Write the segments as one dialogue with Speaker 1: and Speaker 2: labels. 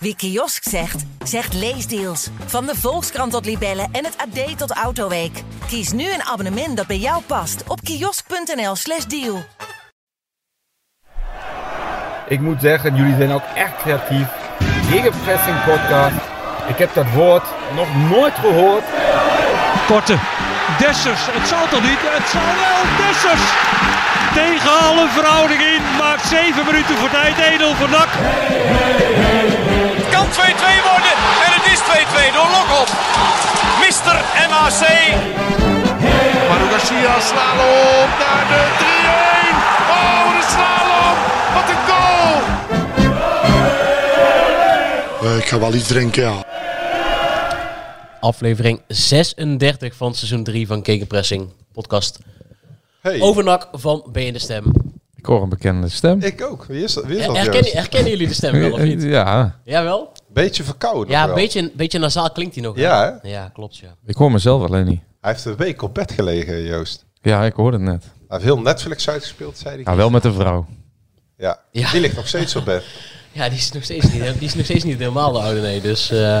Speaker 1: Wie kiosk zegt, zegt leesdeals. Van de Volkskrant tot Libellen en het AD tot Autoweek. Kies nu een abonnement dat bij jou past op kiosk.nl/slash deal.
Speaker 2: Ik moet zeggen, jullie zijn ook echt creatief. Gegenpressing podcast. Ik heb dat woord nog nooit gehoord.
Speaker 3: Korte. Dessers. Het zal toch niet? Het zal wel. Dessers. Tegen alle verhouding in. Maakt 7 minuten voor tijd. 1-0 voor NAC.
Speaker 4: Het kan 2-2 worden. En het is 2-2 door Lokop. Mister MAC.
Speaker 5: Maru Garcia, slalom naar de 3-1. Oh, de slalom. Wat een goal.
Speaker 6: Eh, ik ga wel iets drinken, ja.
Speaker 7: aflevering 36 van seizoen 3 van Kekenpressing podcast.
Speaker 8: Hey,
Speaker 7: Overnak van Ben je de Stem.
Speaker 9: Ik hoor een bekende stem. Eh,
Speaker 8: ik ook. Wie is dat, wie is dat
Speaker 7: Herken,
Speaker 8: juist?
Speaker 7: herkennen jullie de stem wel of niet?
Speaker 9: Ja,
Speaker 7: Jawel?
Speaker 8: Beetje verkouden.
Speaker 7: Ja,
Speaker 8: wel.
Speaker 7: een beetje, een beetje nasaal klinkt hij nog. hè?
Speaker 8: Ja, hè?
Speaker 7: Ja, klopt ja.
Speaker 9: ik hoor mezelf alleen niet.
Speaker 8: Hij heeft een week op bed gelegen, Joost.
Speaker 9: Ja, ik hoorde het net.
Speaker 8: Hij heeft heel Netflix uitgespeeld, zei hij.
Speaker 9: Ja, wel met een vrouw.
Speaker 8: Ja.
Speaker 7: Ja.
Speaker 8: Die ligt nog steeds op bed.
Speaker 7: Ja, die is nog steeds niet, die is nog steeds niet helemaal de oude, nee. Dus, eh,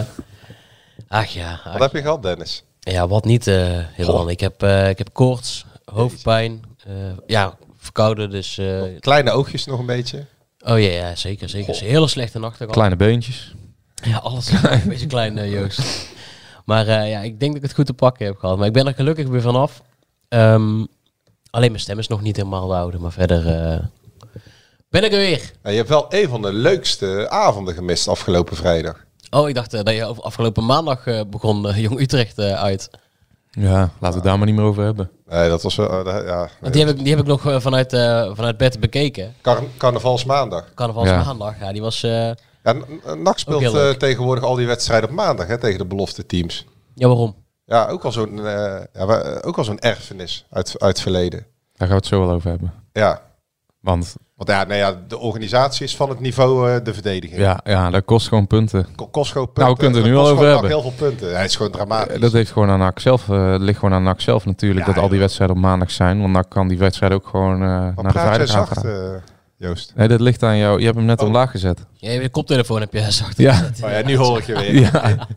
Speaker 7: ach ja.
Speaker 8: Wat
Speaker 7: ach.
Speaker 8: heb je gehad, Dennis?
Speaker 7: ja, wat niet eh helemaal. Ik heb, eh, ik heb koorts, hoofdpijn, eh, ja, verkouden. Dus, eh,
Speaker 8: Kleine oogjes nog een beetje.
Speaker 7: oh ja, ja, zeker, zeker. Is een hele slechte nacht. ook al.
Speaker 9: Kleine beentjes.
Speaker 7: Ja, alles is een beetje klein, eh, Joost. Maar eh, ja, ik denk dat ik het goed te pakken heb gehad. Maar ik ben er gelukkig weer vanaf. Ehm, alleen mijn stem is nog niet helemaal de oude, maar verder eh, ben ik er weer.
Speaker 8: Nou, je hebt wel een van de leukste avonden gemist afgelopen vrijdag.
Speaker 7: Oh, ik dacht eh, dat je over- afgelopen maandag eh, begon eh, Jong Utrecht eh, uit.
Speaker 9: Ja, laten we het daar maar niet meer over hebben.
Speaker 8: Nee, dat was wel... eh, dat- ja,
Speaker 7: Want die heb ik, die heb ik nog eh, vanuit, eh, vanuit bed bekeken.
Speaker 8: Car- carnavalsmaandag.
Speaker 7: Carnavalsmaandag.
Speaker 9: Ja.
Speaker 7: maandag. Ja, die was... eh,
Speaker 8: Ja, N- N- NAC speelt
Speaker 7: heel leuk.
Speaker 8: eh, tegenwoordig al die wedstrijden op maandag hè, tegen de belofte teams.
Speaker 7: ja, waarom?
Speaker 8: Ja, ook al zo'n eh, ja, wa- eh, ook al zo'n erfenis uit, uit het verleden.
Speaker 9: Daar gaan we het zo wel over hebben.
Speaker 8: Ja,
Speaker 9: Want
Speaker 8: Want ja, nou ja, de organisatie is van het niveau eh, de verdediging.
Speaker 9: ja, ja dat kost gewoon punten.
Speaker 8: Ko- Costco punten.
Speaker 9: Nou, we kunnen het er nu
Speaker 8: Costco
Speaker 9: al over
Speaker 8: pakt
Speaker 9: hebben.
Speaker 8: heel veel punten. Hij is gewoon dramatisch.
Speaker 9: Eh, Dat heeft gewoon aan NAC zelf, eh, het ligt gewoon aan NAC zelf natuurlijk,
Speaker 8: dus- Ja,
Speaker 9: dat al die
Speaker 8: joh.
Speaker 9: wedstrijden op maandag zijn. Want NAC kan die wedstrijd ook gewoon eh, naar de
Speaker 8: Wat praat jij
Speaker 9: vrijdag gaan.
Speaker 8: zacht, eh, Joost?
Speaker 9: Nee, dat ligt aan jou. Je hebt hem net
Speaker 8: Oh.
Speaker 9: omlaag gezet.
Speaker 7: Ja, je koptelefoon heb je zacht.
Speaker 9: Ja.
Speaker 8: Oh ja, nu hoor ik je weer.
Speaker 9: ja.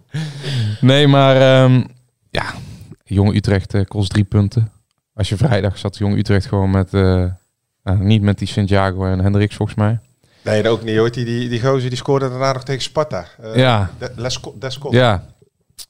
Speaker 9: Nee, maar ehm, ja, Jong Utrecht eh, kost drie punten. Als je vrijdag zat Jong Utrecht gewoon met, eh, nou, niet met die Santiago en Hendricks volgens mij.
Speaker 8: Nee, dat ook niet. Hoor. Die, die, die gozer die scoorde daarna nog tegen Sparta. Eh,
Speaker 9: ja,
Speaker 8: De- Lesco- Descott.
Speaker 9: ja.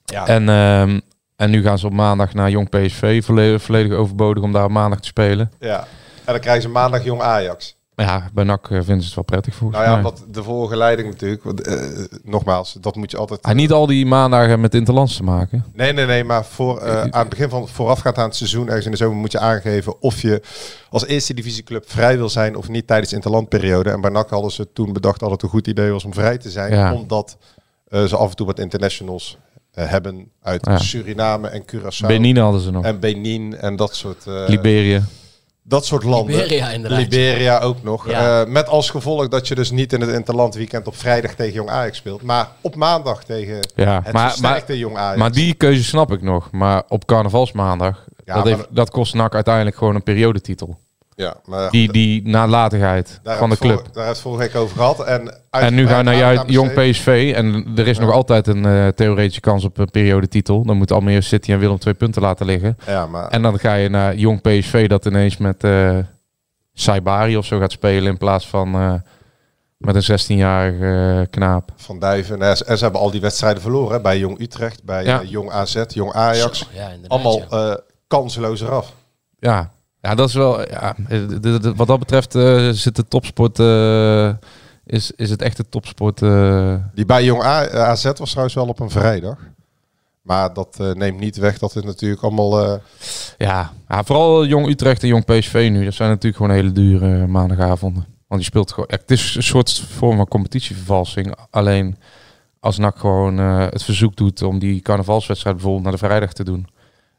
Speaker 8: Ja.
Speaker 9: En, ehm, en nu gaan ze op maandag naar Jong PSV, volle- volledig overbodig om daar op maandag te spelen.
Speaker 8: Ja. En dan krijgen ze maandag jong Ajax.
Speaker 9: Maar ja, bij NAC eh, vinden ze het wel prettig volgens
Speaker 8: Nou ja,
Speaker 9: mij.
Speaker 8: wat de vorige leiding natuurlijk. Want, eh, nogmaals, dat moet je altijd...
Speaker 9: Ah, niet al die maandagen met Interlands te maken.
Speaker 8: Nee, nee, nee. Maar voor, eh, aan het begin van voorafgaand aan het seizoen, ergens in de zomer, moet je aangeven of je als eerste divisieclub vrij wil zijn of niet tijdens de interlandperiode. En bij NAC hadden ze toen bedacht dat het een goed idee was om vrij te zijn,
Speaker 9: Ja.
Speaker 8: omdat eh, ze af en toe wat internationals eh, hebben uit
Speaker 9: Ja.
Speaker 8: Suriname en Curaçao
Speaker 9: Benin hadden ze nog.
Speaker 8: en Benin en dat soort, eh,
Speaker 9: Liberië.
Speaker 8: dat soort landen.
Speaker 7: Liberia inderdaad.
Speaker 8: Liberia ook nog.
Speaker 7: Ja.
Speaker 8: Eh, met als gevolg dat je dus niet in het interland weekend op vrijdag tegen Jong Ajax speelt, maar op maandag tegen
Speaker 9: Ja,
Speaker 8: het
Speaker 9: maar, maar,
Speaker 8: versterkte Jong Ajax.
Speaker 9: maar die keuze snap ik nog. Maar op carnavalsmaandag,
Speaker 8: Ja,
Speaker 9: dat,
Speaker 8: maar
Speaker 9: heeft, dat kost NAC uiteindelijk gewoon een periodetitel.
Speaker 8: ja, maar
Speaker 9: Die, die nalatigheid
Speaker 8: Daar
Speaker 9: van de
Speaker 8: hebben we
Speaker 9: club.
Speaker 8: het vor- daar hebben we het vorige week over gehad. En,
Speaker 9: En nu gaan
Speaker 8: uitgebreid
Speaker 9: naar
Speaker 8: aan
Speaker 9: jou,
Speaker 8: KMC.
Speaker 9: jong PSV. En er is nog altijd een eh, theoretische kans op een periodetitel. Dan moet Almere City en Willem twee punten laten liggen.
Speaker 8: Ja, maar
Speaker 9: En dan ga je naar jong PSV dat ineens met eh Saibari of zo gaat spelen. In plaats van eh, met een 16-jarige eh, knaap.
Speaker 8: Van Duiven. nou ja, ze- en ze hebben al die wedstrijden verloren. hè, Bij Jong Utrecht, bij
Speaker 9: Ja.
Speaker 8: eh, Jong AZ, Jong Ajax.
Speaker 7: Zo, ja, inderdaad,
Speaker 8: Allemaal
Speaker 7: ja.
Speaker 8: eh, kansloos eraf.
Speaker 9: Ja, ja dat is wel. Ja, eh, d- d- d- wat dat betreft eh, zit de topsport. eh, is, is het echt de topsport. eh,
Speaker 8: Die bij Jong A- eh, AZ was trouwens wel op een vrijdag. Maar dat eh, neemt niet weg dat het natuurlijk allemaal... eh,
Speaker 9: ja. ja, vooral jong Utrecht en jong PSV nu. Dat zijn natuurlijk gewoon hele dure maandagavonden. Want je speelt gewoon. ja, het is een soort vorm van competitievervalsing. Alleen als NAC gewoon eh, het verzoek doet om die carnavalswedstrijd bijvoorbeeld naar de vrijdag te doen.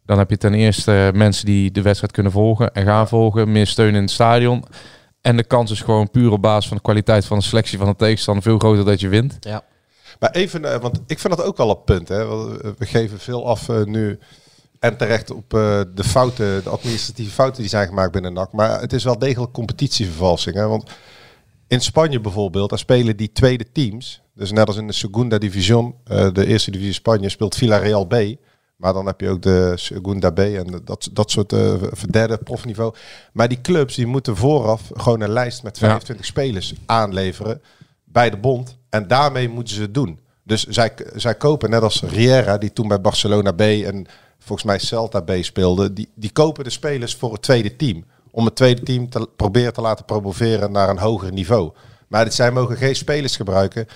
Speaker 9: Dan heb je ten eerste eh, mensen die de wedstrijd kunnen volgen en gaan volgen. Meer steun in het stadion. En de kans is gewoon puur op basis van de kwaliteit van de selectie van de tegenstander veel groter dat je wint.
Speaker 7: Ja.
Speaker 8: Maar even, eh, want ik vind dat ook wel een punt. Hè? want, eh, We geven veel af eh, nu en terecht op eh, de fouten, de administratieve fouten die zijn gemaakt binnen NAC. Maar het is wel degelijk competitievervalsing. Hè? Want In Spanje bijvoorbeeld, daar spelen die tweede teams. Dus net als in de Segunda Division, eh, de eerste divisie Spanje, speelt Villarreal B. Maar dan heb je ook de Segunda B en de- dat, dat soort eh, derde profniveau. Maar die clubs die moeten vooraf gewoon een lijst met
Speaker 9: Ja.
Speaker 8: 25 spelers aanleveren bij de bond. En daarmee moeten ze het doen. Dus zij, zij kopen, net als Riera, die toen bij Barcelona B en volgens mij Celta B speelde, die, die kopen de spelers voor het tweede team. Om het tweede team te proberen te laten promoveren naar een hoger niveau. Maar dit, zij mogen geen spelers gebruiken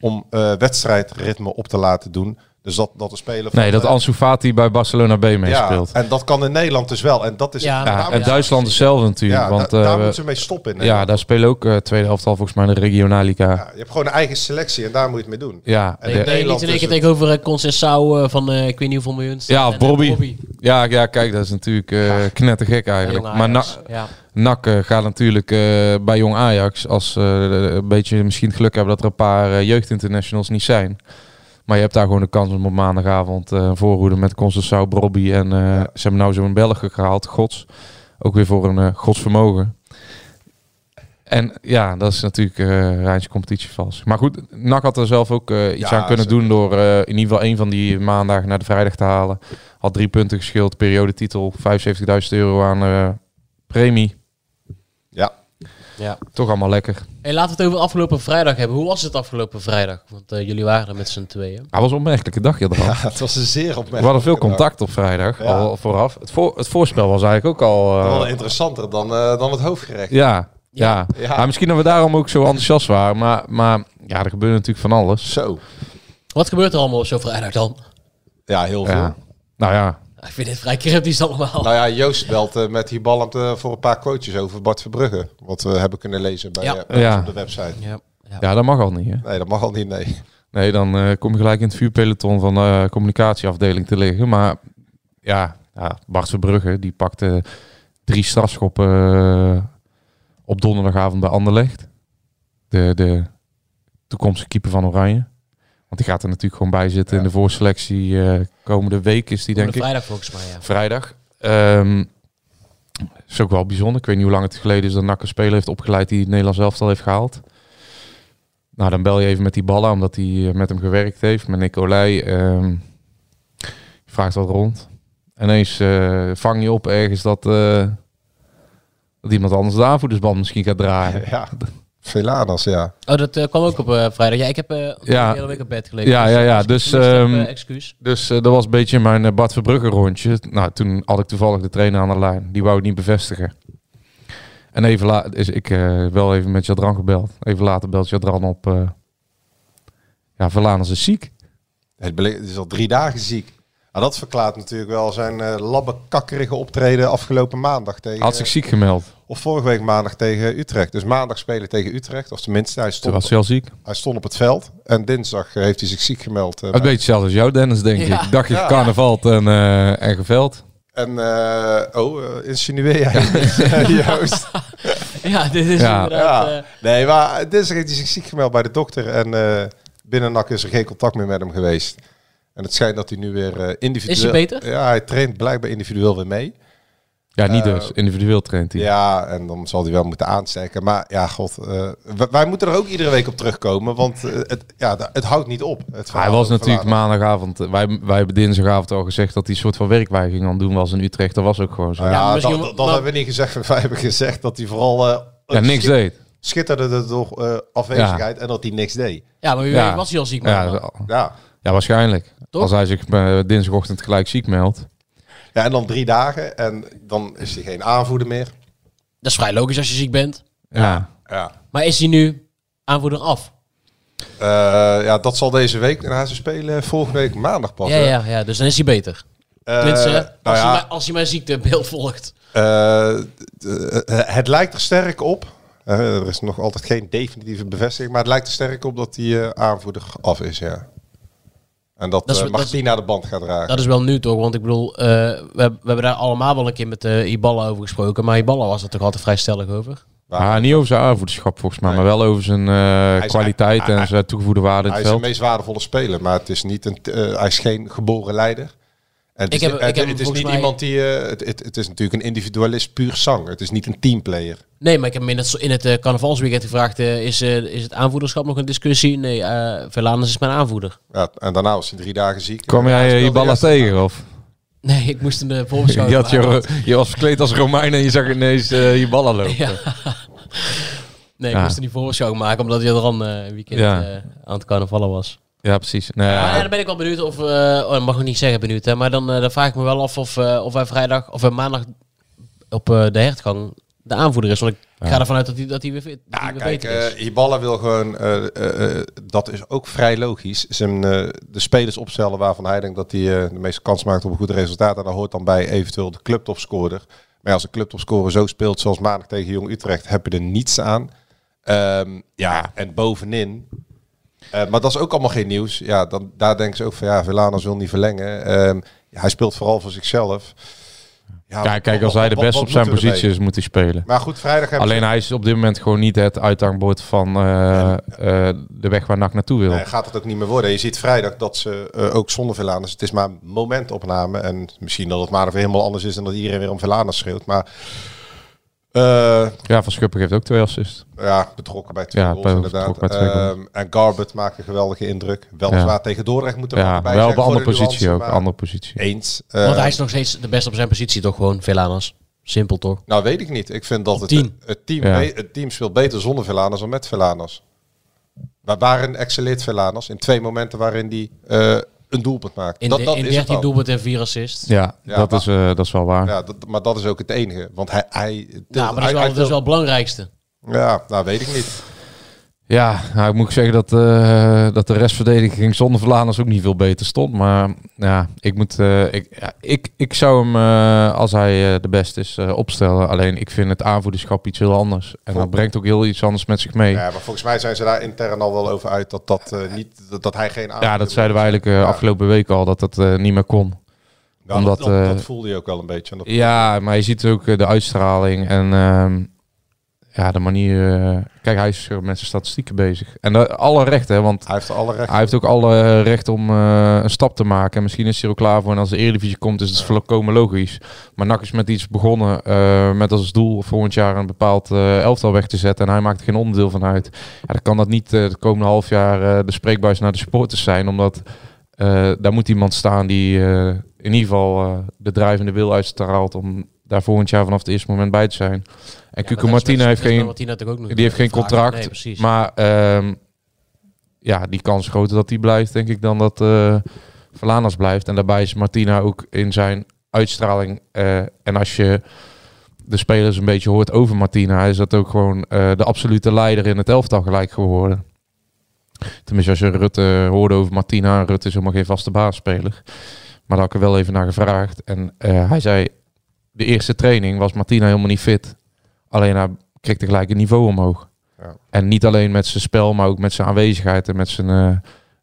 Speaker 8: om eh, wedstrijdritme op te laten doen. Dus dat, dat de speler van,
Speaker 9: Nee, dat
Speaker 8: eh,
Speaker 9: Ansu Fati bij Barcelona B
Speaker 8: ja,
Speaker 9: meespeelt. Ja,
Speaker 8: en dat kan in Nederland dus wel. En dat is
Speaker 7: Ja,
Speaker 8: daar
Speaker 7: en
Speaker 8: moeten
Speaker 9: en
Speaker 8: ze-
Speaker 9: Duitsland hetzelfde natuurlijk.
Speaker 8: ja,
Speaker 9: want
Speaker 8: da-
Speaker 9: eh,
Speaker 8: daar
Speaker 9: we-
Speaker 8: moeten ze mee stoppen. in
Speaker 9: ja,
Speaker 8: Nederland.
Speaker 9: daar spelen ook eh, tweede helftal volgens mij in de Regionalliga.
Speaker 8: Ja, je hebt gewoon een eigen selectie en daar moet je het mee doen.
Speaker 9: Ja,
Speaker 8: En
Speaker 9: de-
Speaker 8: in
Speaker 7: Nee, niet
Speaker 8: Nederland
Speaker 7: in één
Speaker 8: is
Speaker 7: keer
Speaker 8: het-
Speaker 7: tegenover eh, Concessao eh, van eh, ik weet niet hoeveel miljoen.
Speaker 9: ja of
Speaker 7: En, eh,
Speaker 9: Bobby. Ja, ja, kijk, dat is natuurlijk eh knettergek eigenlijk.
Speaker 7: Jong
Speaker 9: Maar
Speaker 7: Ajax.
Speaker 9: na,
Speaker 7: ja.
Speaker 9: NAC eh, gaat natuurlijk eh, bij Jong Ajax, als ze een beetje misschien geluk hebben dat er een paar eh, jeugdinternationals niet zijn. Maar je hebt daar gewoon de kans om op maandagavond eh voorhoeden met Constantin Brobby. En eh, ze hebben nou zo'n Belg gehaald, Gods. Ook weer voor een eh, godsvermogen. En ja, dat is natuurlijk eh Rijnse competitie vals. Maar goed, NAC had er zelf ook eh, iets
Speaker 8: Ja,
Speaker 9: aan kunnen
Speaker 8: zeker.
Speaker 9: doen door eh, in ieder geval één van die maandagen naar de vrijdag te halen. Had drie punten geschild, periodetitel, 75.000 euro aan eh, premie.
Speaker 8: Ja.
Speaker 7: ja.
Speaker 9: Toch allemaal lekker.
Speaker 7: Hey, laten we het over afgelopen vrijdag hebben. Hoe was het afgelopen vrijdag? Want eh, jullie waren er met z'n tweeën.
Speaker 9: Hij was een opmerkelijke dag hiervan.
Speaker 8: Ja, het was een zeer
Speaker 9: We
Speaker 8: opmerkelijk.
Speaker 9: hadden veel contact op vrijdag,
Speaker 8: Ja.
Speaker 9: al vooraf. Het, voor, het voorspel was eigenlijk ook al... eh,
Speaker 8: Wel interessanter dan, eh, dan het hoofdgerecht.
Speaker 9: ja, ja.
Speaker 8: Ja.
Speaker 9: Maar misschien dat we daarom ook zo enthousiast waren. Maar, maar ja, er gebeurde natuurlijk van alles.
Speaker 8: Zo.
Speaker 7: Wat gebeurt er allemaal op zo'n vrijdag dan?
Speaker 8: Ja, heel veel.
Speaker 9: Ja. Nou ja,
Speaker 7: Ik vind dit vrij cryptisch allemaal.
Speaker 8: Nou ja, Joost belt eh, met die bal voor een paar quotejes over Bart Verbrugge. Wat we hebben kunnen lezen bij,
Speaker 7: Ja.
Speaker 8: eh, bij ons
Speaker 9: Ja.
Speaker 8: op de website.
Speaker 7: ja. Ja.
Speaker 9: ja, dat mag al niet. Hè?
Speaker 8: Nee, dat mag al niet, nee.
Speaker 9: Nee, dan eh, kom je gelijk in het vuurpeloton van de communicatieafdeling te liggen. Maar ja, ja Bart Verbrugge, die pakte drie strafschoppen eh, op donderdagavond bij Anderlecht. De, de toekomstige keeper van Oranje. Want die gaat er natuurlijk gewoon bij zitten in de voorselectie. eh, komende week is die, denk ik.
Speaker 7: vrijdag volgens mij, ja.
Speaker 9: Vrijdag. Ehm, is ook wel bijzonder. Ik weet niet hoe lang het geleden is dat NAC een speler heeft opgeleid die het Nederlands elftal heeft gehaald. Nou, dan bel je even met die ballen, omdat hij eh, met hem gewerkt heeft, met Nicolai. Ehm, je vraagt wat rond. En ineens eh, vang je op ergens dat, eh, dat iemand anders de aanvoerdersband misschien gaat draaien.
Speaker 8: Ja. Velanas, ja.
Speaker 7: Oh, dat eh, kwam ook op eh, vrijdag. Ja, ik heb eh
Speaker 9: Ja.
Speaker 7: de hele week op bed gelegen.
Speaker 9: Ja,
Speaker 7: Dus,
Speaker 9: ja, ja.
Speaker 7: als ik
Speaker 9: Dus,
Speaker 7: gemist heb,
Speaker 9: ehm,
Speaker 7: eh, excuus.
Speaker 9: Dus eh, dat was een beetje mijn eh, Bart Verbrugge rondje. Nou, toen had ik toevallig de trainer aan de lijn. Die wou het niet bevestigen. En even later is ik eh, wel even met Jadran gebeld. Even later belt Jadran op. eh, ja, Verlaners is ziek.
Speaker 8: Het bele- het is al drie dagen ziek. Nou, dat verklaart natuurlijk wel zijn eh labbekakkerige optreden afgelopen maandag tegen...
Speaker 9: Had zich ziek gemeld.
Speaker 8: Of vorige week maandag tegen Utrecht. Dus maandag spelen tegen Utrecht. Of tenminste, hij
Speaker 9: Toen
Speaker 8: stond,
Speaker 9: was hij al ziek.
Speaker 8: hij stond op het veld. En dinsdag eh, heeft hij zich ziek gemeld. eh,
Speaker 9: Het
Speaker 8: bij-
Speaker 9: beetje hetzelfde als jou, Dennis, denk
Speaker 7: Ja.
Speaker 9: ik. Dagje
Speaker 8: Ja.
Speaker 9: carnaval en, eh, en geveld.
Speaker 8: En, eh, oh, eh, insinueer jij Joost?
Speaker 7: Ja, dit is
Speaker 9: Ja.
Speaker 7: inderdaad...
Speaker 8: Ja.
Speaker 7: eh,
Speaker 8: Nee, maar dinsdag heeft hij zich ziek gemeld bij de dokter. En eh binnen NAC is er geen contact meer met hem geweest. En het schijnt dat hij nu weer eh, individueel...
Speaker 7: Is hij beter?
Speaker 8: Ja, hij traint blijkbaar individueel weer mee.
Speaker 9: Ja, niet
Speaker 8: Eh,
Speaker 9: dus. Individueel traint hij.
Speaker 8: Ja, en dan zal hij wel moeten aansteken. Maar ja, god, eh, w- wij moeten er ook iedere week op terugkomen. Want eh, het, ja, da- het houdt niet op. Het
Speaker 9: Hij
Speaker 8: verhaal
Speaker 9: was
Speaker 8: over
Speaker 9: natuurlijk
Speaker 8: Lana.
Speaker 9: maandagavond. eh, Wij, wij hebben dinsdagavond al gezegd dat hij een soort van werkwijzing aan het doen was in Utrecht. Dat was ook gewoon zo.
Speaker 8: Nou
Speaker 7: Ja,
Speaker 8: Ja,
Speaker 7: misschien
Speaker 8: dat,
Speaker 7: wel-
Speaker 8: dat- dat
Speaker 7: maar-
Speaker 8: hebben we niet gezegd. Wij hebben gezegd dat hij vooral... eh,
Speaker 9: Ja, niks
Speaker 8: schi-
Speaker 9: deed.
Speaker 8: Schitterde er door eh, afwezigheid en dat hij niks deed.
Speaker 7: ja, maar wie
Speaker 9: Ja.
Speaker 7: weet was hij al ziek, man.
Speaker 9: Ja,
Speaker 8: Ja.
Speaker 9: Ja, waarschijnlijk.
Speaker 7: Toch?
Speaker 9: Als hij zich eh, dinsdagochtend gelijk ziek meldt.
Speaker 8: ja, en dan drie dagen en dan is hij geen aanvoerder meer.
Speaker 7: Dat is vrij logisch als je ziek bent.
Speaker 9: Ja.
Speaker 8: Ja.
Speaker 7: Maar is hij nu aanvoerder af?
Speaker 8: Eh, ja, dat zal deze week. En ze spelen volgende week maandag pas.
Speaker 7: Ja,
Speaker 9: eh?
Speaker 8: hè?
Speaker 7: ja, ja, dus dan is hij beter.
Speaker 8: Eh,
Speaker 7: Tenminste,
Speaker 8: nou
Speaker 7: als,
Speaker 8: ja,
Speaker 7: je mijn, als je mijn ziektebeeld volgt.
Speaker 8: eh, d- eh, het lijkt er sterk op. Eh, er is nog altijd geen definitieve bevestiging. Maar het lijkt er sterk op dat die eh, aanvoerder af is, ja. En dat,
Speaker 7: Dat is-
Speaker 8: eh,
Speaker 7: dat is-
Speaker 8: Martina de band gaat dragen.
Speaker 7: Dat is wel nu toch, want ik bedoel, eh, we, heb- we hebben daar allemaal wel een keer met eh Iballa over gesproken. Maar Iballa was er toch altijd vrij stellig over.
Speaker 9: Ah, niet over zijn aanvoederschap volgens mij,
Speaker 8: Nee.
Speaker 9: maar wel over zijn eh,
Speaker 8: is-
Speaker 9: kwaliteit
Speaker 8: hij- hij-
Speaker 9: en zijn toegevoegde waarde in
Speaker 8: hij
Speaker 9: het
Speaker 8: is de
Speaker 9: veld.
Speaker 8: meest waardevolle speler, maar het is niet een, t- eh, hij is geen geboren leider. En het
Speaker 7: Ik
Speaker 8: is,
Speaker 7: heb-
Speaker 8: eh,
Speaker 7: ik heb hem
Speaker 8: het is
Speaker 7: volgens
Speaker 8: niet
Speaker 7: mij-
Speaker 8: iemand die... eh, het, het, het is natuurlijk een individualist puur zang. Het is niet een teamplayer.
Speaker 7: Nee, maar ik heb hem in het, in het eh, carnavalsweekend gevraagd, eh, is, eh, is het aanvoederschap nog een discussie? Nee, eh Velanus is mijn aanvoerder.
Speaker 8: Ja, en daarna was hij drie dagen ziek.
Speaker 9: Kwam
Speaker 8: Ja, hij
Speaker 9: jij eh, je
Speaker 8: speelde
Speaker 9: ballen
Speaker 8: eerst-
Speaker 9: tegen of?
Speaker 7: Nee, ik moest hem de
Speaker 9: Je,
Speaker 7: voorbeschouwing
Speaker 9: had je,
Speaker 7: maken.
Speaker 9: je was verkleed als Romein en je zag ineens eh, je ballen lopen.
Speaker 7: Ja. Nee, ik
Speaker 9: Ja.
Speaker 7: moest er die voorbeschouwing maken, omdat hij er dan eh weekend
Speaker 9: Ja.
Speaker 7: eh, aan het carnavallen was.
Speaker 9: Ja, precies. Nee,
Speaker 7: Ja,
Speaker 9: ja,
Speaker 7: dan ben ik wel benieuwd of... eh, oh, dat mag ik niet zeggen benieuwd, hè, maar dan, eh, dan vraag ik me wel af of, eh, of hij vrijdag of hij maandag op eh, de hertgang de aanvoerder is. Want ik ga ervan uit dat hij, dat hij weer, fit- dat
Speaker 8: Ja,
Speaker 7: hij weer
Speaker 8: kijk,
Speaker 7: beter is.
Speaker 8: eh Hiballa wil gewoon, eh, eh, eh, dat is ook vrij logisch, zijn, eh, de spelers opstellen waarvan hij denkt dat hij eh, de meeste kans maakt op een goed resultaat. En daar hoort dan bij eventueel de clubtopscorer. Maar ja, als een clubtopscorer zo speelt zoals maandag tegen Jong Utrecht, heb je er niets aan. Ehm, ja, en bovenin. eh, maar dat is ook allemaal geen nieuws. Ja, dan, daar denken ze ook van, ja, Villanos wil niet verlengen. Ehm, ja, hij speelt vooral voor zichzelf. Ja,
Speaker 9: Ja, kijk, als
Speaker 8: wat-
Speaker 9: hij de
Speaker 8: wat-
Speaker 9: beste
Speaker 8: wat
Speaker 9: op zijn
Speaker 8: moeten we
Speaker 9: positie
Speaker 8: ermee?
Speaker 9: is, moet hij spelen.
Speaker 8: Maar goed, vrijdag hebben
Speaker 9: Alleen hij is op dit moment gewoon niet het uithangbord van eh, eh, de weg waar NAC naartoe wil.
Speaker 8: Nee, gaat het ook niet meer worden. Je ziet vrijdag dat ze eh, ook zonder Velanus. Het is maar een momentopname. En misschien dat het maar weer helemaal anders is en dat iedereen weer om Velanus schreeuwt. Maar eh,
Speaker 9: Ja, Van Schuppen geeft ook twee assists.
Speaker 8: ja, betrokken bij twee
Speaker 9: Ja,
Speaker 8: goals
Speaker 9: bij-
Speaker 8: inderdaad.
Speaker 9: betrokken bij twee goals.
Speaker 8: Ehm, en Garbert maakt een geweldige indruk. Weliswaar
Speaker 9: Ja.
Speaker 8: tegen Dordrecht moeten we
Speaker 9: Ja,
Speaker 8: erbij
Speaker 9: wel op
Speaker 8: zeggen
Speaker 9: een andere
Speaker 8: voor de
Speaker 9: positie ook.
Speaker 8: nuance, maar
Speaker 9: Andere positie.
Speaker 8: Eens. Eh,
Speaker 7: Want hij is nog steeds de beste op zijn positie, toch gewoon, Velanus? Simpel, toch?
Speaker 8: Nou, weet ik niet. Ik vind dat het,
Speaker 7: Tien.
Speaker 8: het, team,
Speaker 9: Ja.
Speaker 8: be- het team speelt beter zonder Velanus dan met Velanus. Maar waarin excelleert Velanus? In twee momenten waarin hij eh, een doelpunt maakt.
Speaker 7: In,
Speaker 8: dat,
Speaker 7: de,
Speaker 8: dat
Speaker 7: in
Speaker 8: is het
Speaker 7: 13
Speaker 8: dan.
Speaker 7: doelpunten en 4 assists.
Speaker 9: Ja,
Speaker 8: Ja,
Speaker 9: dat,
Speaker 8: maar-
Speaker 9: is, eh, dat is wel waar.
Speaker 8: Ja, dat, maar dat is ook het enige. Want hij... hij
Speaker 7: Nou, maar dat is wel,
Speaker 8: hij-
Speaker 7: dat is wel het belangrijkste.
Speaker 8: Ja, nou weet ik niet.
Speaker 9: Ja, nou, ik moet zeggen dat, eh, dat de restverdediging zonder Vlaanders ook niet veel beter stond. Maar ja, ik, moet, eh, ik, ja, ik, ik zou hem, eh, als hij eh, de beste is, eh, opstellen. Alleen ik vind het aanvoederschap iets heel anders. En dat brengt ook heel iets anders met zich mee.
Speaker 8: Ja,
Speaker 9: Ja,
Speaker 8: maar volgens mij zijn ze daar intern al wel over uit dat, dat, eh, niet, dat, dat hij geen aanvoerder
Speaker 9: dat
Speaker 8: is.
Speaker 9: zeiden we eigenlijk eh,
Speaker 8: Ja.
Speaker 9: afgelopen week al, dat dat eh, niet meer kon.
Speaker 8: Nou,
Speaker 9: omdat,
Speaker 8: dat, dat,
Speaker 9: eh,
Speaker 8: dat voelde je ook wel een beetje. En dat-
Speaker 9: Ja, maar je ziet ook eh, de uitstraling en ehm, ja, de manier... eh, kijk, hij is eh, met zijn statistieken bezig. En dat- alle recht, hè, want
Speaker 8: Hij heeft alle recht.
Speaker 9: Hij heeft ook alle eh, recht om eh, een stap te maken. En misschien is hij er ook klaar voor. En als de Eredivisie komt, is het volkomen logisch. Maar NAC is met iets begonnen. eh, met als doel volgend jaar een bepaald eh, elftal weg te zetten. En hij maakt er geen onderdeel van uit. Ja, dan kan dat niet eh de komende half jaar eh, de spreekbuis naar de supporters zijn. Omdat eh, daar moet iemand staan die eh, in ieder geval eh, de drijvende wil uitstraalt. Om daar volgend jaar vanaf het eerste moment bij te zijn. En
Speaker 7: Ja,
Speaker 9: Cucu
Speaker 7: maar dat is
Speaker 9: Martina heeft
Speaker 7: met- dat is met
Speaker 9: geen...
Speaker 7: Martina natuurlijk ook nog
Speaker 9: Die heeft geen
Speaker 7: vragen.
Speaker 9: contract.
Speaker 7: Nee, precies.
Speaker 9: Maar ehm, ja, die kans is groter dat die blijft, denk ik, dan dat eh Verlanas blijft. En daarbij is Martina ook in zijn uitstraling. eh, en als je de spelers een beetje hoort over Martina, is dat ook gewoon eh, de absolute leider in het elftal gelijk geworden. Tenminste, als je Rutte hoorde over Martina, Rutte is helemaal geen vaste baasspeler. Maar daar had ik er wel even naar gevraagd. En eh, hij zei, de eerste training was Martina helemaal niet fit. Alleen hij kreeg tegelijk een niveau omhoog.
Speaker 8: Ja.
Speaker 9: En niet alleen met zijn spel, maar ook met zijn aanwezigheid en met zijn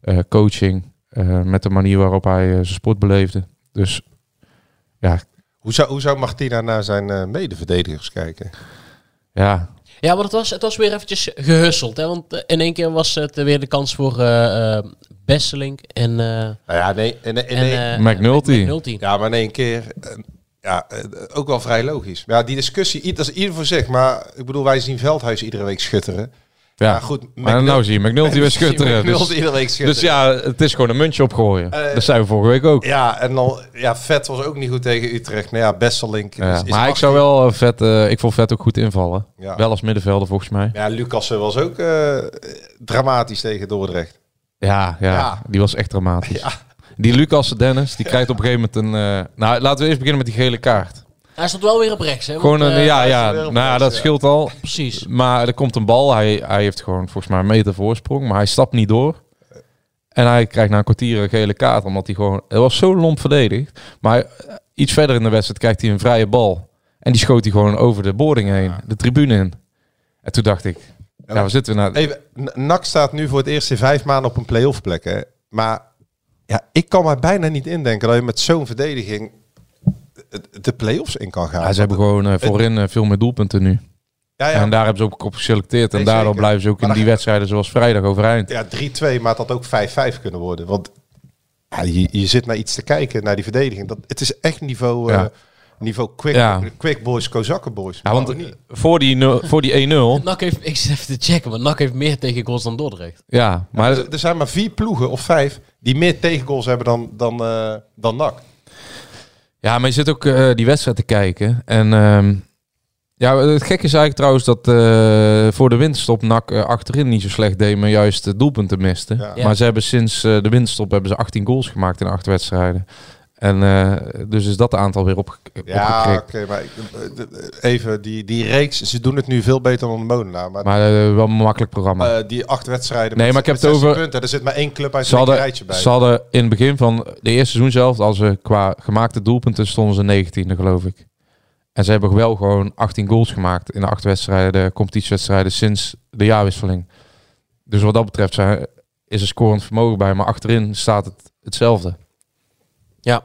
Speaker 9: eh, eh, coaching. eh, met de manier waarop hij eh, zijn sport beleefde. Dus ja,
Speaker 8: Hoe, zou, hoe zou Martina naar zijn eh, medeverdedigers kijken?
Speaker 9: ja
Speaker 7: Ja, maar het was, het was weer eventjes gehusteld. Hè? Want eh, in één keer was het eh, weer de kans voor eh eh, Besselink en, eh,
Speaker 8: Nou ja, nee, in, in, in,
Speaker 7: en eh,
Speaker 9: McNulty.
Speaker 7: McNulty.
Speaker 8: Ja, maar in één keer. eh, ja, eh, ook wel vrij logisch. Maar Ja, die discussie, i- dat is ieder voor zich. Maar ik bedoel, wij zien Veldhuis iedere week schutteren.
Speaker 9: Ja,
Speaker 8: Maar goed,
Speaker 9: maar
Speaker 8: McNul-
Speaker 9: nou zie je McNulty weer schutteren.
Speaker 8: McNulty
Speaker 9: Dus,
Speaker 8: iedere week schutteren.
Speaker 9: dus ja, het is gewoon een muntje opgooien.
Speaker 8: Eh,
Speaker 9: dat zijn we vorige week ook.
Speaker 8: Ja, en dan, ja, Vet was ook niet goed tegen Utrecht. Nou ja, Besselink.
Speaker 9: Ja,
Speaker 8: is- is
Speaker 9: maar ik zou
Speaker 8: 18.
Speaker 9: wel eh, vet, eh, ik vond vet ook goed invallen.
Speaker 8: Ja.
Speaker 9: Wel als middenvelder volgens mij.
Speaker 8: Ja, Lucas was ook eh, dramatisch tegen Dordrecht.
Speaker 9: Ja, ja,
Speaker 8: Ja.
Speaker 9: die was echt dramatisch.
Speaker 8: Ja.
Speaker 9: Die Lucas Dennis, die krijgt op een gegeven moment een... eh, nou, laten we eerst beginnen met die gele kaart.
Speaker 7: Hij stond wel weer op rechts. Hè?
Speaker 9: Gewoon
Speaker 7: want,
Speaker 9: een,
Speaker 7: eh,
Speaker 9: ja,
Speaker 8: hij is
Speaker 9: ja,
Speaker 8: er weer op
Speaker 9: nou ja,
Speaker 8: rechts,
Speaker 9: dat
Speaker 8: ja.
Speaker 9: scheelt al.
Speaker 7: Precies.
Speaker 9: Maar er komt een bal, hij, hij heeft gewoon volgens mij een meter voorsprong, maar hij stapt niet door. En hij krijgt na een kwartier een gele kaart, omdat hij gewoon... Het was zo lomp verdedigd. Maar eh, iets verder in de wedstrijd krijgt hij een vrije bal. En die schoot hij gewoon over de boarding heen, de tribune in. En toen dacht ik, ja, we zitten nou- naar...
Speaker 8: Even, N- NAC staat nu voor het eerst in vijf maanden op een play-off plek. Hè? Maar ja, ik kan mij bijna niet indenken dat je met zo'n verdediging de- de play-offs in kan gaan.
Speaker 9: Ja, ze hebben gewoon eh, voorin eh, veel meer doelpunten nu.
Speaker 8: Ja,
Speaker 9: En
Speaker 8: ja,
Speaker 9: daar hebben ze ook op geselecteerd. En
Speaker 8: Nee,
Speaker 9: daardoor
Speaker 8: zeker.
Speaker 9: blijven ze ook in
Speaker 8: Maar
Speaker 9: die
Speaker 8: dan-
Speaker 9: wedstrijden zoals vrijdag overeind.
Speaker 8: ja 3-2, maar het had ook 5-5 kunnen worden. Want ja, je, je zit naar iets te kijken, naar die verdediging. Dat, het is echt niveau, eh,
Speaker 9: Ja.
Speaker 8: niveau quick,
Speaker 9: Ja.
Speaker 8: quick boys, kozakken boys.
Speaker 9: Ja, want
Speaker 8: Maar niet.
Speaker 9: voor die, nul- voor die 1-0...
Speaker 7: NAC heeft, ik zit even te checken, maar NAC heeft meer tegen goals dan Dordrecht.
Speaker 9: Ja, maar
Speaker 8: er, er zijn maar vier ploegen of vijf die meer tegengoals hebben dan, dan, eh, dan NAC.
Speaker 9: Ja, maar je zit ook eh, die wedstrijd te kijken. En ehm, ja, het gekke is eigenlijk trouwens dat eh, voor de winterstop NAC eh, achterin niet zo slecht deed, maar juist de doelpunten miste.
Speaker 8: Ja.
Speaker 7: Ja.
Speaker 9: Maar ze hebben sinds eh, de winterstop hebben ze 18 goals gemaakt in acht wedstrijden. En eh, dus is dat aantal weer opge
Speaker 8: Ja,
Speaker 9: opgekrikt.
Speaker 8: oké, maar ik- eh, de- even die, die reeks. Ze doen het nu veel beter dan de Molenaar. Maar,
Speaker 9: Maar eh, wel een makkelijk programma.
Speaker 8: eh, die acht wedstrijden.
Speaker 9: Nee,
Speaker 8: met-
Speaker 9: maar ik heb
Speaker 8: met
Speaker 9: het
Speaker 8: 16
Speaker 9: over-
Speaker 8: Punten, er zit maar één club uit
Speaker 9: ze,
Speaker 8: een
Speaker 9: hadden,
Speaker 8: rijtje bij.
Speaker 9: ze hadden in het begin van de eerste seizoen zelf, als ze qua gemaakte doelpunten stonden ze 19e, geloof ik. En ze hebben wel gewoon 18 goals gemaakt in de acht wedstrijden, competitiewedstrijden sinds de jaarwisseling. Dus wat dat betreft zijn, is er scorend vermogen bij, maar achterin staat het hetzelfde.
Speaker 7: Ja.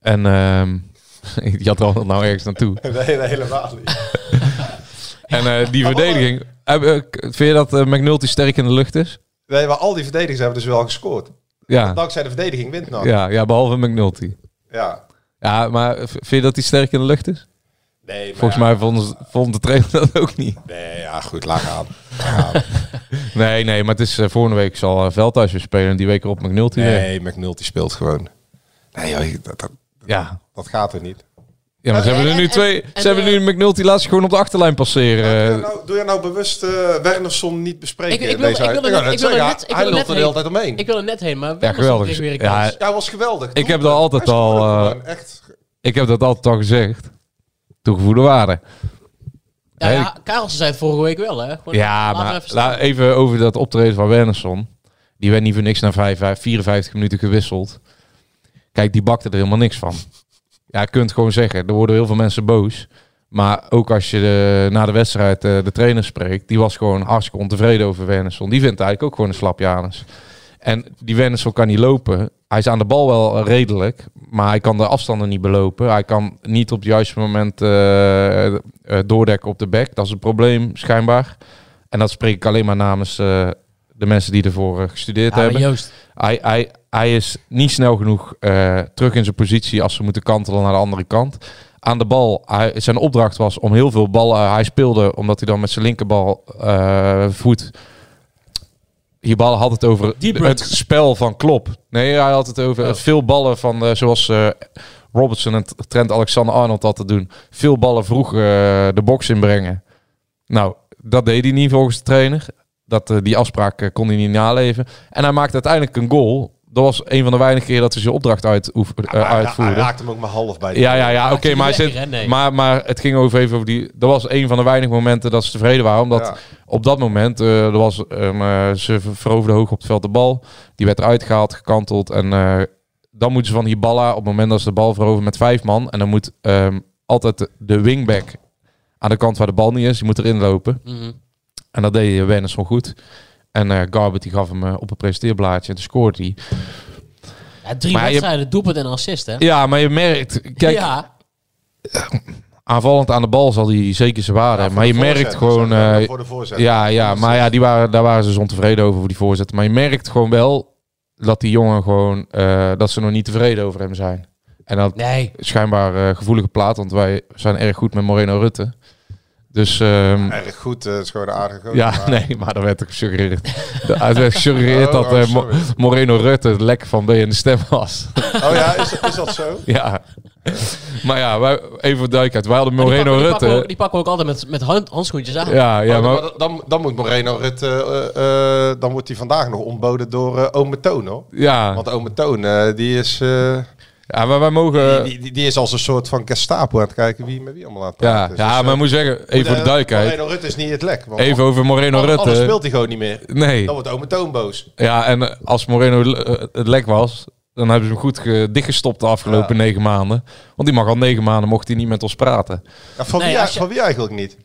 Speaker 9: En ehm je had er al nou ergens naartoe.
Speaker 8: De hele, helemaal niet.
Speaker 9: En eh, die verdediging, heb- eh, k- vind je dat eh, McNulty sterk in de lucht is?
Speaker 8: Nee, maar al die verdedigers hebben dus wel gescoord.
Speaker 9: Ja,
Speaker 8: Dankzij de verdediging wint NAC. Ja.
Speaker 9: ja, ja behalve McNulty. Ja, maar v- vind je dat hij sterk in de lucht is?
Speaker 8: Nee, maar
Speaker 9: Volgens
Speaker 8: ja,
Speaker 9: mij vond, vond de trainer dat ook niet.
Speaker 8: Nee, ja, goed, laat aan.
Speaker 9: Nee, nee, maar het is eh, volgende week zal eh, Veldhuis weer spelen en die week erop McNulty weer.
Speaker 8: Nee, McNulty speelt gewoon. Nee, joh, dat, dat,
Speaker 9: Ja.
Speaker 8: dat gaat er niet.
Speaker 9: ja, maar ze
Speaker 7: Oh,
Speaker 9: hebben er nu twee. ze hebben nu McNulty laat ze gewoon op de achterlijn
Speaker 8: Doe
Speaker 9: passeren.
Speaker 8: jij nou, doe jij nou bewust eh Wernersson niet bespreken?
Speaker 7: Ik- ik
Speaker 8: in
Speaker 7: wil-
Speaker 8: deze
Speaker 7: ik wil er net-
Speaker 8: uit- wou
Speaker 7: ik wil er
Speaker 8: zeggen,
Speaker 7: net- ik wil
Speaker 8: Hij
Speaker 7: er
Speaker 8: lult
Speaker 7: net
Speaker 8: er de hele tijd omheen.
Speaker 7: Ik wil er net heen, maar
Speaker 9: Ja, geweldig.
Speaker 7: Weer een
Speaker 9: Ja,
Speaker 7: kans.
Speaker 8: Jij was geweldig.
Speaker 9: Ik heb dat altijd
Speaker 8: Hij
Speaker 9: al,
Speaker 8: scoorde
Speaker 9: eh,
Speaker 8: gewoon, echt.
Speaker 9: Ik heb dat altijd al gezegd. Toegevoegde waarde.
Speaker 7: Ja,
Speaker 9: Nee,
Speaker 7: ja, Karelsen zei het vorige week wel, hè? Gewoon,
Speaker 9: Ja,
Speaker 7: laten we
Speaker 9: maar
Speaker 7: even staan.
Speaker 9: la- even over dat optreden van Wernersson. Die werd niet voor niks na 55 54 minuten gewisseld. Kijk, die bakte er helemaal niks van. Ja, je kunt gewoon zeggen, er worden heel veel mensen boos. Maar ook als je eh, na de wedstrijd eh, de trainer spreekt, die was gewoon hartstikke ontevreden over Wernersson. Die vindt eigenlijk ook gewoon een slapjanus. En die Wernersson kan niet lopen. Hij is aan de bal wel eh, redelijk, maar hij kan de afstanden niet belopen. Hij kan niet op het juiste moment eh, eh, doordekken op de bek. Dat is een probleem, schijnbaar. En dat spreek ik alleen maar namens eh, de mensen die ervoor eh, gestudeerd
Speaker 7: Ja, maar
Speaker 9: hebben.
Speaker 7: Joost,
Speaker 9: Hij, hij, hij is niet snel genoeg eh, terug in zijn positie als ze moeten kantelen naar de andere kant. Aan de bal, hij, zijn opdracht was om heel veel ballen. eh, Hij speelde omdat hij dan met zijn linkerbal eh, voet. Hierbal had het over
Speaker 7: Deep run.
Speaker 9: het spel van Klop. Nee, hij had het over
Speaker 7: Oh.
Speaker 9: veel ballen van eh, zoals eh, Robertson en Trent Alexander-Arnold had te doen. Veel ballen vroeg eh, de box inbrengen. Nou, dat deed hij niet volgens de trainer. Dat, eh, die afspraak eh, kon hij niet naleven. En hij maakte uiteindelijk een goal. Dat was een van de weinige keer dat hij zijn opdracht uitoef- eh,
Speaker 8: Maar hij- Hij
Speaker 9: uitvoerde.
Speaker 8: raakte hem ook maar half bij. de-
Speaker 9: ja, ja, ja. Oké,
Speaker 7: hij
Speaker 9: maar, hij
Speaker 7: niet
Speaker 9: zit-
Speaker 7: lekker, hè? Nee.
Speaker 9: maar, maar het ging over even over die... Dat was een van de weinige momenten dat ze tevreden waren. Omdat
Speaker 8: Ja.
Speaker 9: op dat moment, eh, er was, ehm, eh, ze ver- veroverden hoog op het veld de bal. Die werd eruit gehaald, gekanteld. En eh, dan moeten ze van Hiballa, op het moment dat ze de bal veroveren met vijf man. En dan moet ehm, altijd de- de wingback aan de kant waar de bal niet is, die moet erin lopen.
Speaker 7: mhm.
Speaker 9: En dat deed Wernersson goed. En eh Garbert die gaf hem eh, op een presenteerblaadje en toen scoorde hij.
Speaker 7: Ja, drie
Speaker 9: Maar je-
Speaker 7: wedstrijden, doelpunt en assist, hè?
Speaker 9: Ja, maar je merkt, kijk,
Speaker 7: ja,
Speaker 9: aanvallend aan de bal zal hij zeker zijn waarde
Speaker 8: Ja,
Speaker 9: hebben.
Speaker 8: voor
Speaker 9: Maar
Speaker 8: de
Speaker 9: je merkt
Speaker 8: voorzet,
Speaker 9: gewoon,
Speaker 8: zeg maar,
Speaker 9: eh,
Speaker 8: voor de voorzet.
Speaker 9: ja, ja, maar ja, die waren, daar waren ze dus ontevreden over voor die voorzet. Maar je merkt gewoon wel dat die jongen gewoon, eh, dat ze nog niet tevreden over hem zijn. En dat
Speaker 7: nee.
Speaker 9: schijnbaar eh, gevoelige plaat, want wij zijn erg goed met Moreno Rutte. Dus ehm,
Speaker 8: Erg goed, eh, het is gewoon een aardige gozer,
Speaker 9: Ja,
Speaker 8: maar-
Speaker 9: nee, maar er werd ook gesuggereerd. Er werd gesuggereerd
Speaker 8: Oh,
Speaker 9: dat
Speaker 8: oh,
Speaker 9: eh, Mo-
Speaker 8: sorry.
Speaker 9: Moreno Rutte het lek van B in de stem was.
Speaker 8: Oh ja, is, is dat zo?
Speaker 9: ja. Maar ja, wij, even voor duidelijkheid. Wij hadden
Speaker 7: Maar die
Speaker 9: Moreno Rutte.
Speaker 7: pakken- die pakken we ook- Die pakken we ook altijd met, met hand, handschoentjes aan.
Speaker 9: ja, ja,
Speaker 8: Oh,
Speaker 9: maar,
Speaker 8: dan, dan, dan moet Moreno Rutte, eh, eh, dan wordt hij vandaag nog ontboden door eh Ome Toon, hoor.
Speaker 9: ja.
Speaker 8: Want Ome Toon, eh, die, is, eh,
Speaker 9: ja, maar wij mogen...
Speaker 8: die, die, die is als een soort van Gestapo aan het kijken wie met wie allemaal aan het praten
Speaker 9: ja,
Speaker 8: is. Dus,
Speaker 9: ja,
Speaker 8: eh,
Speaker 9: maar ik moet zeggen, even
Speaker 8: moet,
Speaker 9: voor de
Speaker 8: eh,
Speaker 9: duidelijkheid.
Speaker 8: Moreno Rutte is niet het lek. Want
Speaker 9: Even over Moreno
Speaker 8: anders- anders
Speaker 9: Rutte.
Speaker 8: speelt hij gewoon niet meer.
Speaker 9: Nee.
Speaker 8: Dan wordt Ome Toon boos.
Speaker 9: Ja, en eh, als Moreno eh, het lek was, dan hebben ze hem goed ge- dichtgestopt de afgelopen negen maanden. Want die mag al negen maanden, mocht hij niet met ons praten.
Speaker 8: Ja, van,
Speaker 7: Nee,
Speaker 8: wie,
Speaker 7: als je-
Speaker 8: van wie eigenlijk niet?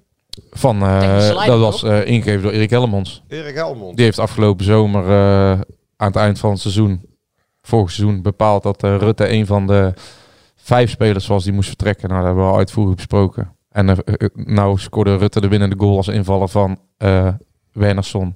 Speaker 9: Van, eh,
Speaker 7: Tegen Slijpen,
Speaker 9: dat
Speaker 7: toch?
Speaker 9: was eh, ingegeven door Erik Helmonds.
Speaker 8: Erik Helmond.
Speaker 9: Die heeft afgelopen zomer eh, aan het eind van het seizoen, vorig seizoen, bepaald dat eh, Rutte een van de vijf spelers was die moest vertrekken. Nou, dat hebben we al uitvoerig besproken. En eh, eh, nou scoorde Rutte de winnende goal als invaller van eh Wernersson.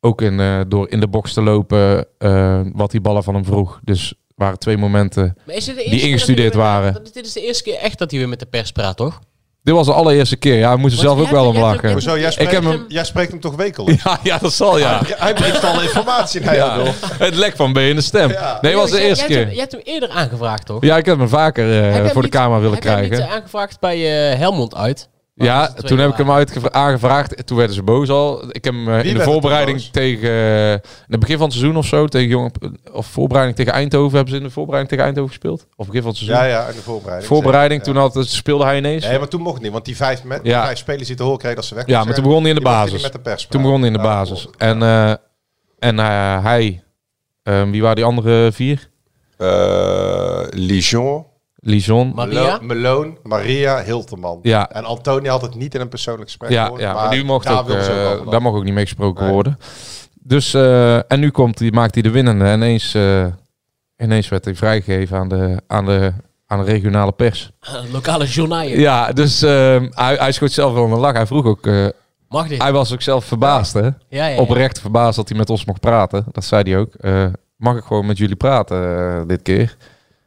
Speaker 9: Ook in, eh, door in de box te lopen, eh, wat die ballen van hem vroeg. Dus er waren twee momenten.
Speaker 7: Maar is dit de
Speaker 9: Die
Speaker 7: eerste keer dat hij
Speaker 9: ingestudeerd
Speaker 7: weer met-
Speaker 9: waren.
Speaker 7: dat- Dit is de eerste keer echt dat hij weer met de pers praat, toch?
Speaker 9: Dit was de allereerste keer. Ja, we moesten
Speaker 7: Want
Speaker 9: zelf ook wel
Speaker 7: jij
Speaker 9: om
Speaker 7: hebt- jij hebt
Speaker 9: lachen.
Speaker 7: ook-
Speaker 8: Hoezo, jij spreekt,
Speaker 9: heb
Speaker 8: hem,
Speaker 9: hem-
Speaker 8: jij spreekt hem toch wekelijks?
Speaker 9: Ja, ja, dat zal ja.
Speaker 8: Hij brengt al informatie naar jou door.
Speaker 9: Het lek van benen stem.
Speaker 8: Ja.
Speaker 9: Nee, dat was de
Speaker 7: Jij-
Speaker 9: eerste
Speaker 7: jij hebt hem-
Speaker 9: keer.
Speaker 7: Jij hebt hem eerder aangevraagd, toch?
Speaker 9: Ja, ik heb hem vaker eh,
Speaker 7: Heb je hem
Speaker 9: voor de
Speaker 7: niet-
Speaker 9: camera willen
Speaker 7: Heb je
Speaker 9: krijgen.
Speaker 7: hem niet aangevraagd bij eh, Helmond uit? Waar
Speaker 9: Ja,
Speaker 7: ze de
Speaker 9: toen
Speaker 7: tweede
Speaker 9: heb ik hem
Speaker 7: waren?
Speaker 9: uitgevra- aangevraagd. Toen werden ze boos al. Ik heb hem eh, in
Speaker 8: werd
Speaker 9: de
Speaker 8: er toen
Speaker 9: voorbereiding
Speaker 8: boos?
Speaker 9: tegen... eh, in het begin van het seizoen of zo. Tegen jong, of voorbereiding tegen Eindhoven. Hebben ze in de voorbereiding tegen Eindhoven gespeeld? Of begin van het seizoen?
Speaker 8: Ja, ja, in de voorbereiding.
Speaker 9: Voorbereiding,
Speaker 8: zeker,
Speaker 9: toen had, het- speelde hij ineens.
Speaker 8: ja. Nee, maar toen mocht het niet, want die vijf, met, die
Speaker 9: Ja.
Speaker 8: vijf spelers die te horen kregen dat ze weg
Speaker 9: Ja, maar toen begon hij in de
Speaker 8: die mocht je
Speaker 9: basis.
Speaker 8: niet met de pers
Speaker 9: Toen
Speaker 8: praten.
Speaker 9: begon hij in de
Speaker 8: Ja,
Speaker 9: basis.
Speaker 8: klopt.
Speaker 9: En, eh, en eh, hij... ehm, wie waren die andere vier?
Speaker 8: Eh, Lijon,
Speaker 9: Lijon.
Speaker 7: Maria?
Speaker 8: Lo- Malone, Maria Hilterman.
Speaker 9: Ja.
Speaker 8: En Antonia had het niet in een persoonlijk gesprek.
Speaker 9: Ja,
Speaker 8: gehoord,
Speaker 9: ja maar nu mocht
Speaker 8: daar
Speaker 9: ook,
Speaker 8: wilden ze
Speaker 9: eh,
Speaker 8: allemaal
Speaker 9: daar mag ook niet mee gesproken
Speaker 8: Nee.
Speaker 9: worden. Dus, eh, en nu komt die, maakt hij de winnende. En ineens, eh, ineens werd hij vrijgegeven aan de, aan de, aan de regionale pers.
Speaker 7: Lokale journaaien.
Speaker 9: Ja, dus eh, hij, hij schoot zelf wel een lach. Hij vroeg ook, eh,
Speaker 7: Mag dit?
Speaker 9: hij was ook zelf verbaasd, hè?
Speaker 7: Ja, ja, ja.
Speaker 9: Oprecht verbaasd dat hij met ons mocht praten. Dat zei hij ook. Eh, mag ik gewoon met jullie praten eh, dit keer?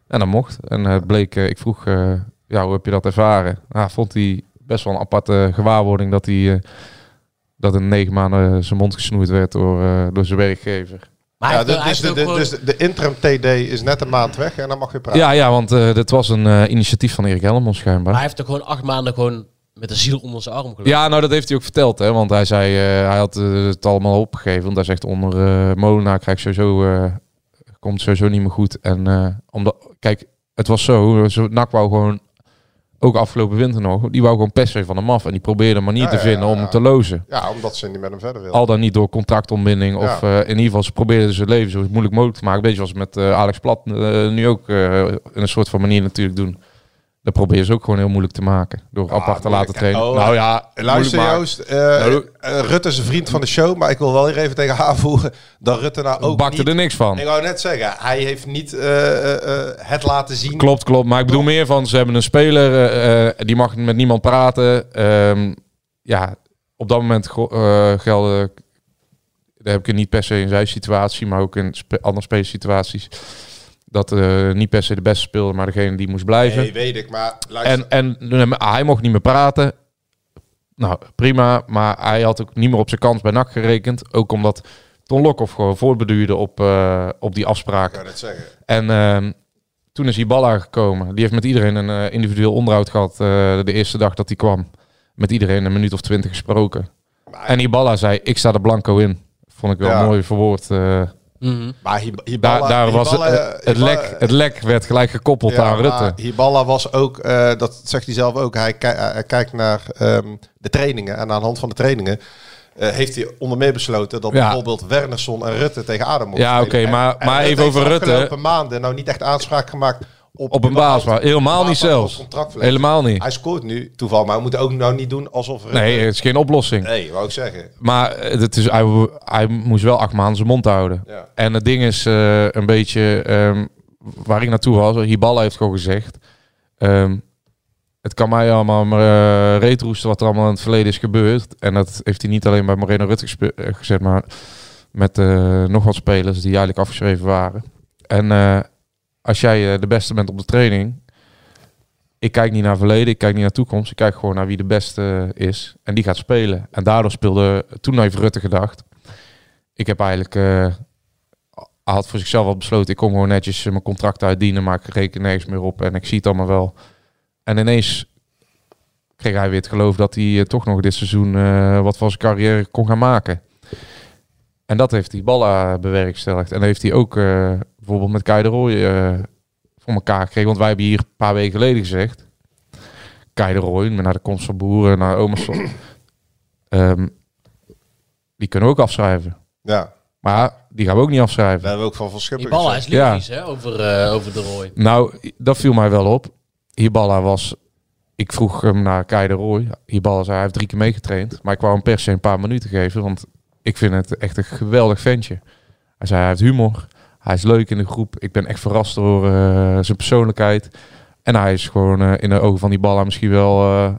Speaker 9: En dat mocht. En eh, het bleek, eh, ik vroeg, eh, ja, hoe heb je dat ervaren? Nou, vond hij best wel een aparte gewaarwording dat hij eh, dat in negen maanden zijn mond gesnoeid werd door, eh, door zijn werkgever.
Speaker 7: Maar hij
Speaker 8: Ja,
Speaker 7: heeft-
Speaker 8: dus,
Speaker 7: hij heeft
Speaker 8: dus, de,
Speaker 7: ook
Speaker 8: de-
Speaker 7: gewoon-
Speaker 8: dus de interim TD is net een maand weg en dan mag je praten.
Speaker 9: Ja, ja, want eh dit was een eh, initiatief van Erik Helmond
Speaker 7: Maar
Speaker 9: schijnbaar.
Speaker 7: hij heeft ook gewoon acht maanden gewoon met de ziel onder zijn arm gelopen.
Speaker 9: Ja, nou dat heeft hij ook verteld, hè? Want hij zei, eh, hij had eh, het allemaal opgegeven. Want hij zegt onder eh Molenaar krijg je sowieso, eh, komt sowieso niet meer goed. En eh, omdat, kijk, het was zo, zo NAC wou gewoon, ook afgelopen winter nog, die wou gewoon per se van hem af. En die probeerde een manier
Speaker 8: Ja,
Speaker 9: te
Speaker 8: ja,
Speaker 9: vinden
Speaker 8: ja,
Speaker 9: om hem
Speaker 8: ja.
Speaker 9: te lozen.
Speaker 8: Ja, omdat ze niet met hem verder wilden.
Speaker 9: Al dan niet door contractontbinding of eh, in ieder geval ze probeerden zijn leven zo moeilijk mogelijk te maken. Beetje als met eh, Alex Plat eh, nu ook eh, in een soort van manier natuurlijk doen. Dat proberen ze ook gewoon heel moeilijk te maken door apart te
Speaker 8: moeilijk,
Speaker 9: laten
Speaker 8: hè.
Speaker 9: trainen.
Speaker 8: Oh,
Speaker 9: nou ja, moeilijk
Speaker 8: Luister
Speaker 9: maken.
Speaker 8: Joost, eh,
Speaker 9: Nou,
Speaker 8: eh, Rutte is een vriend van de show, maar ik wil wel hier even tegen haar voegen dat Rutte nou ook
Speaker 9: bakte
Speaker 8: niet...
Speaker 9: er niks van.
Speaker 8: Ik wou net zeggen, hij heeft niet eh, eh, eh, het laten zien.
Speaker 9: Klopt, klopt. Maar ik bedoel meer van, ze hebben een speler, eh, eh, die mag met niemand praten. Ehm, ja, op dat moment go- eh, gelden, daar heb ik het niet per se in zijn situatie, maar ook in spe- andere spelers situaties, dat eh, niet per se de beste speelde, maar degene die moest blijven.
Speaker 8: Nee, weet ik, maar luister.
Speaker 9: en en nee, maar hij mocht niet meer praten. Nou, prima. Maar hij had ook niet meer op zijn kans bij NAC gerekend. Ook omdat Ton Lokhoff gewoon voorbeduurde op, eh, op die afspraak.
Speaker 8: Ik wou net zeggen.
Speaker 9: En ehm, toen is die bal aangekomen. Die heeft met iedereen een eh, individueel onderhoud gehad eh, de eerste dag dat hij kwam. Met iedereen een minuut of twintig gesproken. En Ibala zei, ik sta er blanco in. Vond ik wel
Speaker 8: Ja.
Speaker 9: mooi verwoord. eh.
Speaker 7: Mhm.
Speaker 8: Maar Hib- Hiballa,
Speaker 9: daar daar was het,
Speaker 8: Hiballa-
Speaker 9: het, het
Speaker 8: Hiballa-
Speaker 9: lek, het lek werd gelijk gekoppeld
Speaker 8: Ja,
Speaker 9: aan
Speaker 8: maar
Speaker 9: Rutte.
Speaker 8: Hiballa was ook, eh, dat zegt hij zelf ook, hij, ki- hij kijkt naar ehm, de trainingen. En aan de hand van de trainingen eh, heeft hij onder meer besloten dat
Speaker 9: Ja.
Speaker 8: bijvoorbeeld Wernersson en Rutte tegen Adem mochten
Speaker 9: Ja,
Speaker 8: spelen.
Speaker 9: oké,
Speaker 8: En-
Speaker 9: maar-
Speaker 8: en
Speaker 9: maar even
Speaker 8: heeft
Speaker 9: over
Speaker 8: de
Speaker 9: Rutte.
Speaker 8: afgelopen maanden nou niet echt aanspraak gemaakt op,
Speaker 9: Op een baas, maar helemaal niet
Speaker 8: baas-
Speaker 9: zelfs.
Speaker 8: contractverlenging.
Speaker 9: Helemaal niet.
Speaker 8: Hij scoort nu, toeval, maar we moeten ook nou niet doen alsof Rutte...
Speaker 9: Nee, eh, het is geen oplossing.
Speaker 8: nee wou ik zeggen.
Speaker 9: Maar eh, het is, hij, wo- hij moest wel acht maanden zijn mond houden.
Speaker 8: Ja.
Speaker 9: En het ding is eh, een beetje ehm, waar ik naartoe was. Hiballa heeft gewoon gezegd. ehm, het kan mij allemaal maar, eh, reet roesten wat er allemaal in het verleden is gebeurd. En dat heeft hij niet alleen bij Moreno Rutte gespe- eh, gezegd, maar met eh, nog wat spelers die eigenlijk afgeschreven waren. En eh, als jij eh, de beste bent op de training, ik kijk niet naar verleden, ik kijk niet naar toekomst. Ik kijk gewoon naar wie de beste is. En die gaat spelen. En daardoor speelde, toen heeft Rutte gedacht. Ik heb eigenlijk, eh, hij had voor zichzelf al besloten. Ik kom gewoon netjes eh, mijn contract uitdienen, maar ik reken nergens meer op. En ik zie het allemaal wel. En ineens kreeg hij weer het geloof dat hij eh, toch nog dit seizoen eh, wat van zijn carrière kon gaan maken. En dat heeft die Balla bewerkstelligd. En dat heeft hij ook eh, bijvoorbeeld met Kai de Roy eh, voor elkaar gekregen. Want wij hebben hier een paar weken geleden gezegd. Kai de Roy, maar naar de komst van Boeren, naar Omerson. Ehm, die kunnen we ook afschrijven.
Speaker 8: Ja,
Speaker 9: Maar die gaan we ook niet afschrijven.
Speaker 8: daar hebben we ook van Van
Speaker 7: Die
Speaker 8: Schippen
Speaker 7: ballen
Speaker 8: gezegd.
Speaker 7: is lyrisch, hè, over, eh, over de rooi.
Speaker 9: Nou, dat viel mij wel op. Hiballa was... Ik vroeg hem naar Kai de Roy. Hiballa zei, hij heeft drie keer meegetraind. Maar ik wou hem per se een paar minuten geven. Want ik vind het echt een geweldig ventje. Hij zei, hij heeft humor. Hij is leuk in de groep. Ik ben echt verrast door eh, zijn persoonlijkheid. En hij is gewoon eh, in de ogen van die Hiballa misschien wel... eh,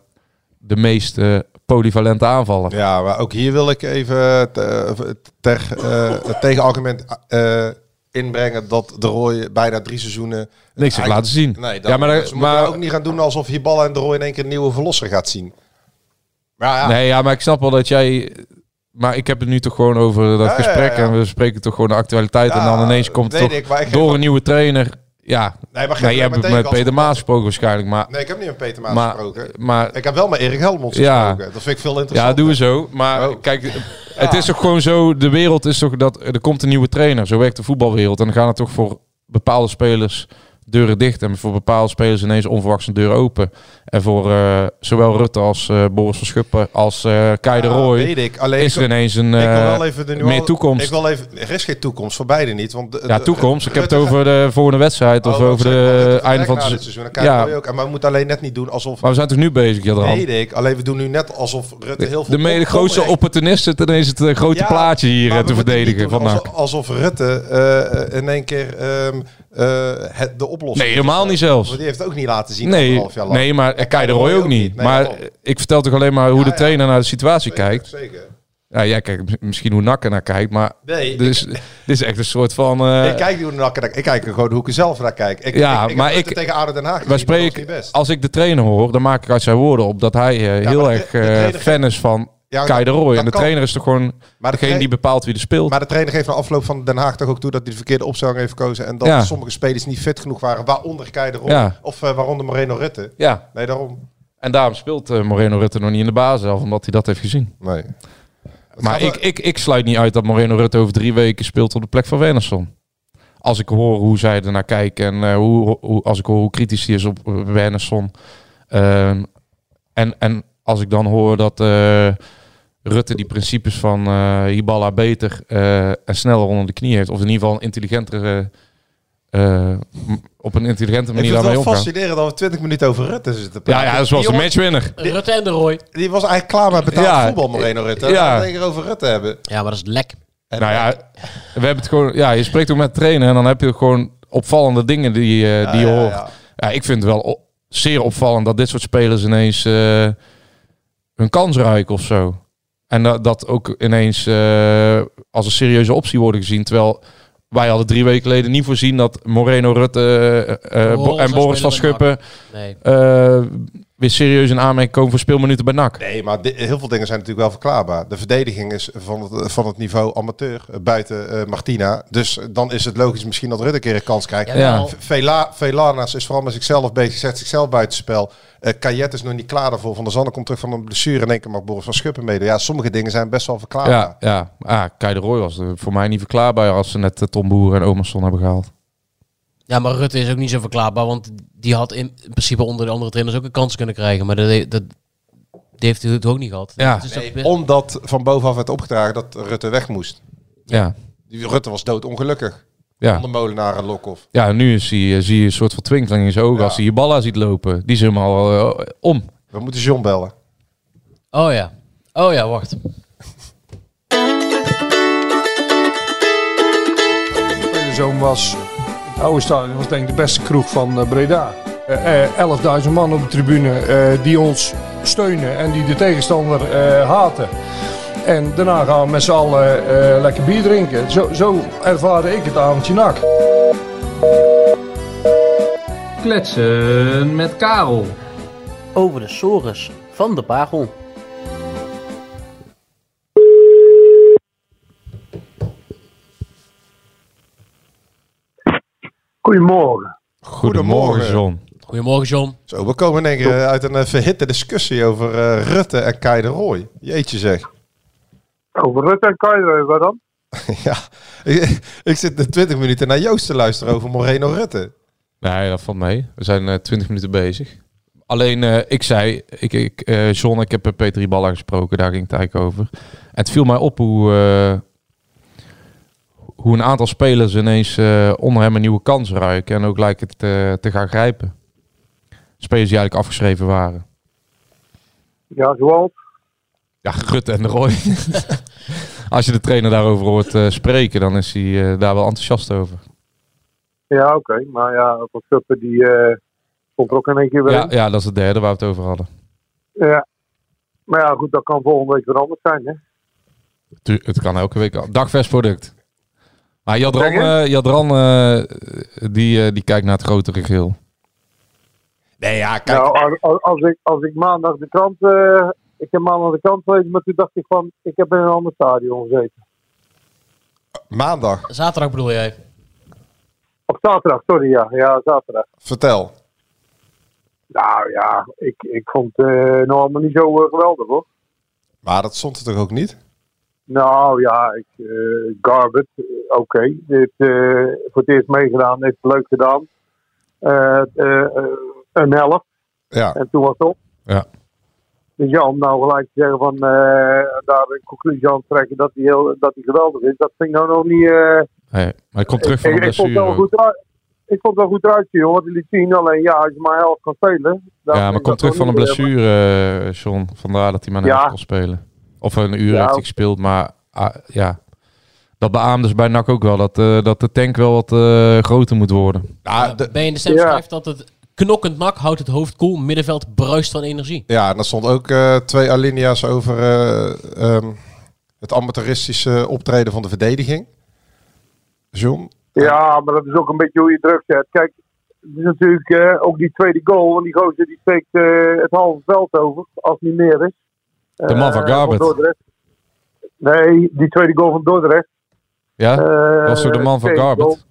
Speaker 9: de meest eh, polyvalente aanvaller.
Speaker 8: Ja, maar ook hier wil ik even te- ter, eh, het tegenargument eh, inbrengen dat de Roy bijna drie seizoenen...
Speaker 9: Niks heeft
Speaker 8: Eigenlijk-
Speaker 9: laten zien.
Speaker 8: Nee, dat,
Speaker 9: ja, maar, daar-
Speaker 8: ze moeten
Speaker 9: maar,
Speaker 8: ook niet gaan doen alsof Hiballa en de Roy in één keer een nieuwe verlosser gaat zien. Maar ja,
Speaker 9: nee, ja, maar ik snap wel dat jij... Maar ik heb het nu toch gewoon over dat
Speaker 8: Ja, ja,
Speaker 9: gesprek.
Speaker 8: ja.
Speaker 9: En we spreken toch gewoon de actualiteit. en
Speaker 8: Ja,
Speaker 9: dan ineens komt het
Speaker 8: weet
Speaker 9: toch
Speaker 8: ik, maar ik geef
Speaker 9: door
Speaker 8: wel-
Speaker 9: een nieuwe trainer. Ja,
Speaker 8: Nee, maar geef
Speaker 9: nou,
Speaker 8: me
Speaker 9: jij hebt het
Speaker 8: meteen
Speaker 9: met
Speaker 8: kans
Speaker 9: Peter
Speaker 8: op-
Speaker 9: Maas gesproken waarschijnlijk. Maar,
Speaker 8: nee, ik heb niet met Peter Maas
Speaker 9: maar,
Speaker 8: gesproken.
Speaker 9: maar
Speaker 8: Ik heb wel met Erik Helmond
Speaker 9: Ja.
Speaker 8: gesproken. Dat vind ik veel
Speaker 9: Ja,
Speaker 8: interessanter.
Speaker 9: doen we zo. Maar
Speaker 8: Oh.
Speaker 9: kijk, het is toch gewoon zo. De wereld is toch dat er komt een nieuwe trainer. Zo werkt de voetbalwereld. En dan gaan er toch voor bepaalde spelers deuren dicht. En voor bepaalde spelers ineens onverwachts een deur open. En voor eh, zowel Rutte als eh, Boris van Schuppen als eh Kai de
Speaker 8: Ja,
Speaker 9: Roy
Speaker 8: weet ik. Alleen
Speaker 9: is er
Speaker 8: ik-
Speaker 9: ineens een
Speaker 8: ik wil
Speaker 9: eh,
Speaker 8: wel even de nuance-
Speaker 9: meer toekomst.
Speaker 8: Ik wil even, er is geen toekomst voor beide niet. Want de-
Speaker 9: ja,
Speaker 8: de-
Speaker 9: toekomst. Ik heb het
Speaker 8: Rutte-
Speaker 9: over de volgende wedstrijd
Speaker 8: Oh,
Speaker 9: of
Speaker 8: dat
Speaker 9: over
Speaker 8: zeg ik wel,
Speaker 9: de
Speaker 8: Rutte
Speaker 9: einde van
Speaker 8: vertrekt na
Speaker 9: het
Speaker 8: dit
Speaker 9: seizoen.
Speaker 8: seizoen. Dan
Speaker 9: Ja, Oh,
Speaker 8: kijken we ook. En Maar we moeten alleen net niet doen alsof...
Speaker 9: maar we zijn toch nu bezig, Jadran?
Speaker 8: Weet ik. Alleen we doen nu net alsof Rutte heel veel...
Speaker 9: De, me- de
Speaker 8: op-
Speaker 9: grootste
Speaker 8: oprecht-
Speaker 9: opportunisten ten ineens het eh, grote
Speaker 8: Ja,
Speaker 9: plaatje hier
Speaker 8: maar
Speaker 9: eh,
Speaker 8: we
Speaker 9: te
Speaker 8: moeten niet
Speaker 9: verdedigen.
Speaker 8: doen
Speaker 9: Van NAC.
Speaker 8: alsof, alsof Rutte eh, eh, in één keer ehm, eh, het, de oplossing...
Speaker 9: Nee, helemaal niet zelfs.
Speaker 8: Want die heeft het ook niet laten zien.
Speaker 9: Nee,
Speaker 8: anderhalf jaar lang.
Speaker 9: nee, maar eh,
Speaker 8: En
Speaker 9: Kai de Roy ook niet.
Speaker 8: Nee,
Speaker 9: maar
Speaker 8: daarom. Zeker,
Speaker 9: ik vertel toch alleen maar hoe
Speaker 8: Ja,
Speaker 9: de
Speaker 8: ja.
Speaker 9: trainer naar de situatie kijkt.
Speaker 8: Zeker.
Speaker 9: Ja, jij kijkt mis- misschien hoe Nak naar kijkt, maar
Speaker 8: Nee,
Speaker 9: dus, dit is echt een soort van... eh,
Speaker 8: ik kijk niet hoe de nakker daar- Ik kijk gewoon hoe ik er zelf naar kijk. Ik,
Speaker 9: Ja,
Speaker 8: ik, ik
Speaker 9: maar
Speaker 8: heb
Speaker 9: ik-
Speaker 8: Rutte tegen Aden Den Haag.
Speaker 9: wij
Speaker 8: gezien, dat was niet
Speaker 9: spreken,
Speaker 8: best.
Speaker 9: als ik de trainer hoor, dan maak ik uit zijn woorden op dat hij eh, heel
Speaker 8: maar de-
Speaker 9: erg
Speaker 8: de
Speaker 9: eh,
Speaker 8: trainer-
Speaker 9: fan is van
Speaker 8: Ja,
Speaker 9: Kai de
Speaker 8: dat-
Speaker 9: Roy.
Speaker 8: dat
Speaker 9: En de
Speaker 8: kan.
Speaker 9: trainer is toch gewoon
Speaker 8: Maar de
Speaker 9: degene
Speaker 8: tra-
Speaker 9: die bepaalt wie er speelt.
Speaker 8: Maar de trainer geeft na afloop van Den Haag toch ook toe dat hij de verkeerde opstelling heeft gekozen. En dat
Speaker 9: Ja.
Speaker 8: sommige spelers niet fit genoeg waren. Waaronder Kei de Roy.
Speaker 9: Ja.
Speaker 8: Of eh, waaronder Moreno Rutte.
Speaker 9: ja,
Speaker 8: Nee, daarom.
Speaker 9: en daarom speelt eh, Moreno Rutte nog niet in de basis, zelf, omdat hij dat heeft gezien.
Speaker 8: Nee.
Speaker 9: Maar
Speaker 8: gaat
Speaker 9: ik, ik, ik sluit niet uit dat Moreno Rutte over drie weken speelt op de plek van Wernersson. Als ik hoor hoe zij ernaar kijken en eh, hoe, hoe, als ik hoor hoe kritisch hij is op eh, Wernersson. Ehm, en, en als ik dan hoor dat eh, Rutte die principes van eh Hibala beter eh, en sneller onder de knie heeft. Of in ieder geval een intelligentere, eh, m- op een intelligente
Speaker 8: Ik
Speaker 9: manier
Speaker 8: vind het
Speaker 9: daarmee
Speaker 8: wel
Speaker 9: omgaan.
Speaker 8: fascinerend dat we 20 minuten over Rutte zitten te
Speaker 9: Ja,
Speaker 8: praten.
Speaker 9: ja, dat was de
Speaker 8: die, jongen-
Speaker 9: matchwinner.
Speaker 7: Rutte en de Roy.
Speaker 8: die was eigenlijk klaar met betaald
Speaker 9: Ja.
Speaker 8: voetbal, Moreno Rutte.
Speaker 9: Ja.
Speaker 8: Ja. We het over Rutte hebben. eh,
Speaker 7: Ja, maar dat is lek.
Speaker 9: nou ja, we hebben het gewoon. Ja, je spreekt ook met trainen en dan heb je gewoon opvallende dingen die, eh, die je
Speaker 8: ja, ja.
Speaker 9: hoort. Ja, ik vind het wel o- zeer opvallend dat dit soort spelers ineens eh, hun kans ruiken of zo. En dat, dat ook ineens eh, als een serieuze optie worden gezien. Terwijl wij hadden drie weken geleden niet voorzien dat Moreno Rutte eh, eh,
Speaker 7: Boris
Speaker 9: Bo- en
Speaker 7: zou
Speaker 9: Boris van
Speaker 7: spelen bij
Speaker 9: Schuppen
Speaker 7: Nee.
Speaker 9: eh, weer serieus in aanmerking komen voor speelminuten bij NAC.
Speaker 8: Nee, maar di- heel veel dingen zijn natuurlijk wel verklaarbaar. De verdediging is van het, van het niveau amateur eh, buiten eh, Martina. Dus eh, dan is het logisch misschien dat Rutte een keer een kans krijgt.
Speaker 9: Ja.
Speaker 8: V- Vela, Velanas is vooral met zichzelf bezig, zet zichzelf buitenspel. Eh Kajet is nog niet klaar daarvoor. Van der Zanne komt terug van een blessure. In één keer mag Boris van Schuppen meedoen. Ja, sommige dingen zijn best wel verklaarbaar.
Speaker 9: Ja, ja. Ah, Kai de Roy was eh, voor mij niet verklaarbaar als ze net eh, Tom Boer en Omerson hebben gehaald.
Speaker 7: Ja, maar Rutte is ook niet zo verklaarbaar, want die had in principe onder de andere trainers ook een kans kunnen krijgen. Maar dat, dat, die heeft hij het ook niet gehad.
Speaker 9: Ja.
Speaker 7: Dat is ook-
Speaker 8: Omdat van bovenaf werd opgedragen dat Rutte weg moest.
Speaker 9: Ja,
Speaker 8: Die- Rutte was doodongelukkig.
Speaker 9: ja.
Speaker 8: Van de molenaar en Lokhoff.
Speaker 9: ja nu is hij, eh, zie je een soort van twinkeling in zijn ogen
Speaker 8: Ja.
Speaker 9: als hij je balla ziet lopen. Die is helemaal eh, om.
Speaker 8: We moeten John bellen.
Speaker 7: Oh ja. Oh ja, wacht.
Speaker 10: De zoon was, het oude stadion was denk ik de beste kroeg van eh, Breda. Eh, eh, 11.000 man op de tribune eh, die ons steunen en die de tegenstander eh, haten. En daarna gaan we met z'n allen eh, lekker bier drinken. Zo, zo ervaarde ik het avondje nak.
Speaker 11: Kletsen met Karel. Over de sores van de Bagel.
Speaker 10: Goedemorgen.
Speaker 8: Goedemorgen.
Speaker 9: John.
Speaker 7: Goedemorgen, John.
Speaker 8: Zo, we komen in één keer eh, uit een eh, verhitte discussie over eh, Rutte en Kai de Roy. Jeetje zeg.
Speaker 10: Over Rutte en Cairo, wat dan?
Speaker 8: ja, ik, ik zit de 20 minuten naar Joost te luisteren over Moreno Rutte.
Speaker 9: Nee, dat valt mee. We zijn eh, twintig minuten bezig. Alleen, eh, ik zei, ik, ik, eh, John, ik heb eh, Peter Iballa gesproken, daar ging het eigenlijk over. En het viel mij op hoe, eh, hoe een aantal spelers ineens eh, onder hem een nieuwe kans ruiken. En ook lijken het eh, te gaan grijpen. Spelers die eigenlijk afgeschreven waren.
Speaker 10: Ja, zoals.
Speaker 9: Ja, Rutte en de Roy. Als je de trainer daarover hoort eh, spreken, dan is hij eh, daar wel enthousiast over.
Speaker 10: Ja, oké. Maar ja, Van Schuppen die eh komt er ook in één keer weer
Speaker 9: Ja,
Speaker 10: in.
Speaker 9: ja, dat is de derde waar we het over hadden.
Speaker 10: Ja.
Speaker 12: Maar ja, goed, dat kan volgende week weer anders zijn. Hè?
Speaker 9: Tu- Het kan elke week al. Dagvers product. Maar Jadran,
Speaker 12: Zeg
Speaker 9: eh, Jadran eh, die, eh, die kijkt naar het grotere geheel.
Speaker 8: Nee, ja,
Speaker 12: kijk. Nou, als, als- als, ik, als ik maandag de krant. eh, ik heb maandag de krant gelezen, maar toen dacht ik van. Ik heb in een ander stadion gezeten.
Speaker 8: Maandag.
Speaker 7: Zaterdag bedoel jij?
Speaker 12: Op zaterdag, sorry, ja. Ja, zaterdag.
Speaker 8: Vertel.
Speaker 12: Nou ja, ik, ik vond het eh nog allemaal niet zo eh, geweldig hoor.
Speaker 8: Maar dat stond er toch ook niet?
Speaker 12: Nou ja, ik, eh, Garbert, eh, oké. Dit, eh, voor het eerst meegedaan, heeft het leuk gedaan. Eh, eh, eh, een helft.
Speaker 8: Ja.
Speaker 12: En toen was het op.
Speaker 9: Ja.
Speaker 12: Dus ja, om nou gelijk te zeggen van eh, daar een conclusie aan te trekken dat hij heel dat hij geweldig is, dat vind ik nou nog niet. eh,
Speaker 9: Hey, maar ik kom terug van
Speaker 12: ik,
Speaker 9: een
Speaker 12: ik vond het
Speaker 9: blessure.
Speaker 12: wel
Speaker 9: ook.
Speaker 12: goed uit. Ik vond het wel goed eruit zien, hoor. Die liet zien alleen, ja, als je maar helft kan spelen. dan
Speaker 9: Ja, maar
Speaker 12: is
Speaker 9: kom
Speaker 12: dat
Speaker 9: terug
Speaker 12: nog
Speaker 9: van een
Speaker 12: niet, eh,
Speaker 9: blessure, eh, John. Vandaar dat hij maar een
Speaker 12: Ja.
Speaker 9: helft kon spelen. Of een uur
Speaker 12: Ja.
Speaker 9: heeft hij gespeeld. Maar ah, ja, dat beaamde ze bij NAC ook wel. Dat, eh, dat de tank wel wat eh, groter moet worden.
Speaker 8: Ah, de-
Speaker 7: Ben je in de stem schrijft dat het knokkend nak houdt het hoofd koel, middenveld bruist van energie.
Speaker 8: Ja, en daar stond ook eh, twee alinea's over eh, ehm, het amateuristische optreden van de verdediging. John?
Speaker 12: Ja, maar dat is ook een beetje hoe je druk zet. Kijk, het is natuurlijk eh, ook die tweede goal. Want die gozer die steekt eh, het halve veld over, als het niet meer is.
Speaker 9: De man van
Speaker 12: Eh,
Speaker 9: Garbert.
Speaker 12: Dordrecht. Nee, die tweede goal van Dordrecht.
Speaker 9: Ja?
Speaker 12: Eh,
Speaker 9: dat was toch de man van
Speaker 12: tweede goal.
Speaker 9: Garbert?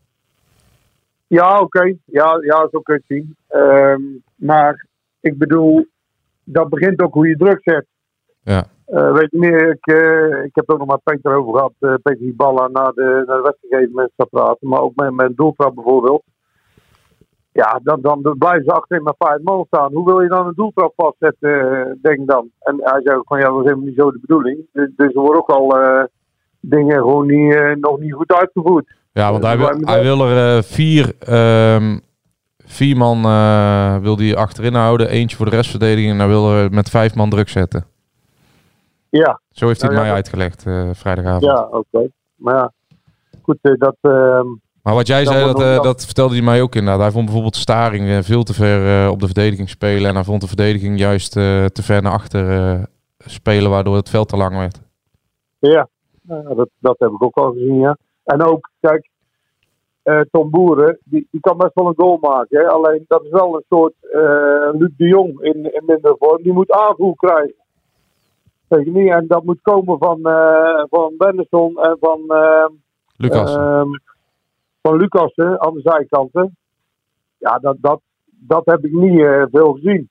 Speaker 12: Ja, oké. Ja, ja, zo kun je het zien. Ehm, maar ik bedoel, dat begint ook hoe je druk zet.
Speaker 9: Ja.
Speaker 12: Eh, weet je meer, ik, eh, ik heb het ook nog met Peter over gehad. eh Peter Hiballa na de, na de wedstrijd gegeven mensen te praten. Maar ook met mijn doeltrap bijvoorbeeld. Ja, dan, dan, dan blijven ze achterin met vijf man staan. Hoe wil je dan een doeltrap vastzetten, eh, denk ik dan? En hij zei ook van, ja, dat is helemaal niet zo de bedoeling. Dus, dus er worden ook al eh, dingen gewoon niet, eh, nog niet goed uitgevoerd.
Speaker 9: Ja, want hij wil,
Speaker 12: blijven
Speaker 9: hij wil er eh, vier, ehm, vier man eh, wil die achterin houden. Eentje voor de restverdediging. En hij wil er met vijf man druk zetten.
Speaker 12: Ja.
Speaker 9: Zo heeft hij het
Speaker 12: Nou ja,
Speaker 9: mij uitgelegd eh, vrijdagavond.
Speaker 12: Ja, oké. Maar ja, goed, eh, dat... ehm,
Speaker 9: Maar wat jij
Speaker 12: Dan
Speaker 9: zei,
Speaker 12: wordt
Speaker 9: dat,
Speaker 12: nog-
Speaker 9: eh, dat vertelde hij mij ook inderdaad. Hij vond bijvoorbeeld Staring eh, veel te ver eh, op de verdediging spelen. En hij vond de verdediging juist eh, te ver naar achter eh, spelen, waardoor het veld te lang werd.
Speaker 12: Ja, nou, dat, dat heb ik ook al gezien, ja. En ook, kijk, eh, Tom Boeren, die, die kan best wel een goal maken. Hè? Alleen dat is wel een soort eh, Luc de Jong in, in minder vorm. Die moet aanvoer krijgen. Weet je niet? En dat moet komen van, eh van Benderson en van... eh,
Speaker 9: Lucassen.
Speaker 12: ehm, van Lucassen aan de zijkanten. Ja, dat, dat, dat heb ik niet eh, veel gezien.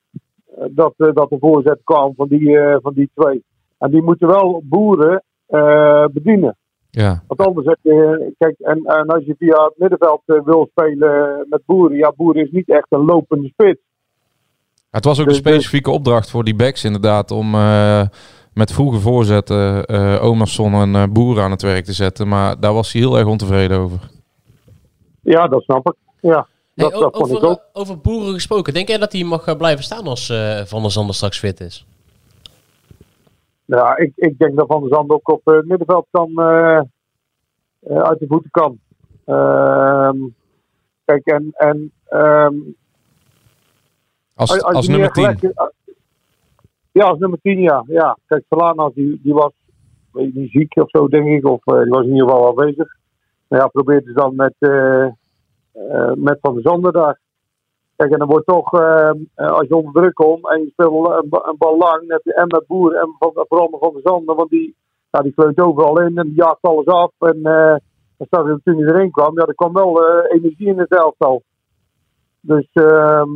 Speaker 12: Eh, dat, eh, dat de voorzet kwam van die, eh, van die twee. En die moeten wel boeren eh, bedienen.
Speaker 9: Ja.
Speaker 12: Want anders heb je, kijk, en, en als je via het middenveld eh, wil spelen met boeren, ja, boeren is niet echt een lopende spits.
Speaker 9: Het was ook een specifieke opdracht voor die backs inderdaad om eh, met vroege voorzetten eh Omerson en eh Boer aan het werk te zetten. Maar daar was hij heel erg ontevreden over.
Speaker 12: Ja, dat snap ik. Ja, dat,
Speaker 7: Hey, o-
Speaker 12: dat vond ik
Speaker 7: over,
Speaker 12: ook.
Speaker 7: eh, over boeren gesproken, denk jij dat hij mag eh, blijven staan als eh, Van der Zander straks fit is?
Speaker 12: Ja, ik, ik denk dat Van der Zand ook op eh, het middenveld kan, eh, eh, uit de voeten kan. Ehm, kijk, en. en ehm,
Speaker 9: Als-
Speaker 12: je
Speaker 9: als
Speaker 12: niet
Speaker 9: nummer
Speaker 12: echt lekker- ja, als nummer 10, ja. ja. Kijk, Solana die, die was weet ik niet, ziek of zo, denk ik. Of eh, die was in ieder geval aanwezig. Nou ja, probeert dus dan met, eh, eh, met Van der Zander daar. Kijk, en dan wordt toch, eh, eh, als je onder druk komt en je speelt een, ba- een bal lang, dan heb je en met Boer en van, vooral met Van der Zander, want die, ja, die kleut overal in en die jaagt alles af. En eh en straks toen hij erin kwam, ja, er kwam wel eh, energie in het elftal. Dus ehm,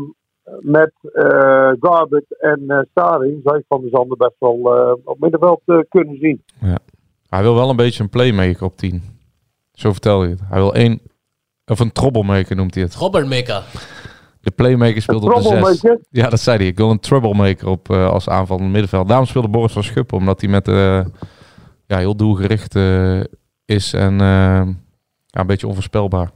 Speaker 12: met eh Garbert en eh Staring zou ik Van der Zander best wel eh, op middenveld eh, kunnen zien.
Speaker 9: Ja. Hij wil wel een beetje een playmaker op 10. Zo vertelde hij het. Hij wil één, of een troublemaker noemt hij het.
Speaker 7: Robbermaker.
Speaker 9: De playmaker speelde
Speaker 7: Een
Speaker 9: op de zes.
Speaker 7: troublemaker?
Speaker 9: Ja, dat zei hij. Ik wil een troublemaker op eh, als aanvallend middenveld. Daarom speelde Boris van Schuppen, omdat hij met eh, ja, heel doelgericht eh, is en eh, ja, een beetje onvoorspelbaar.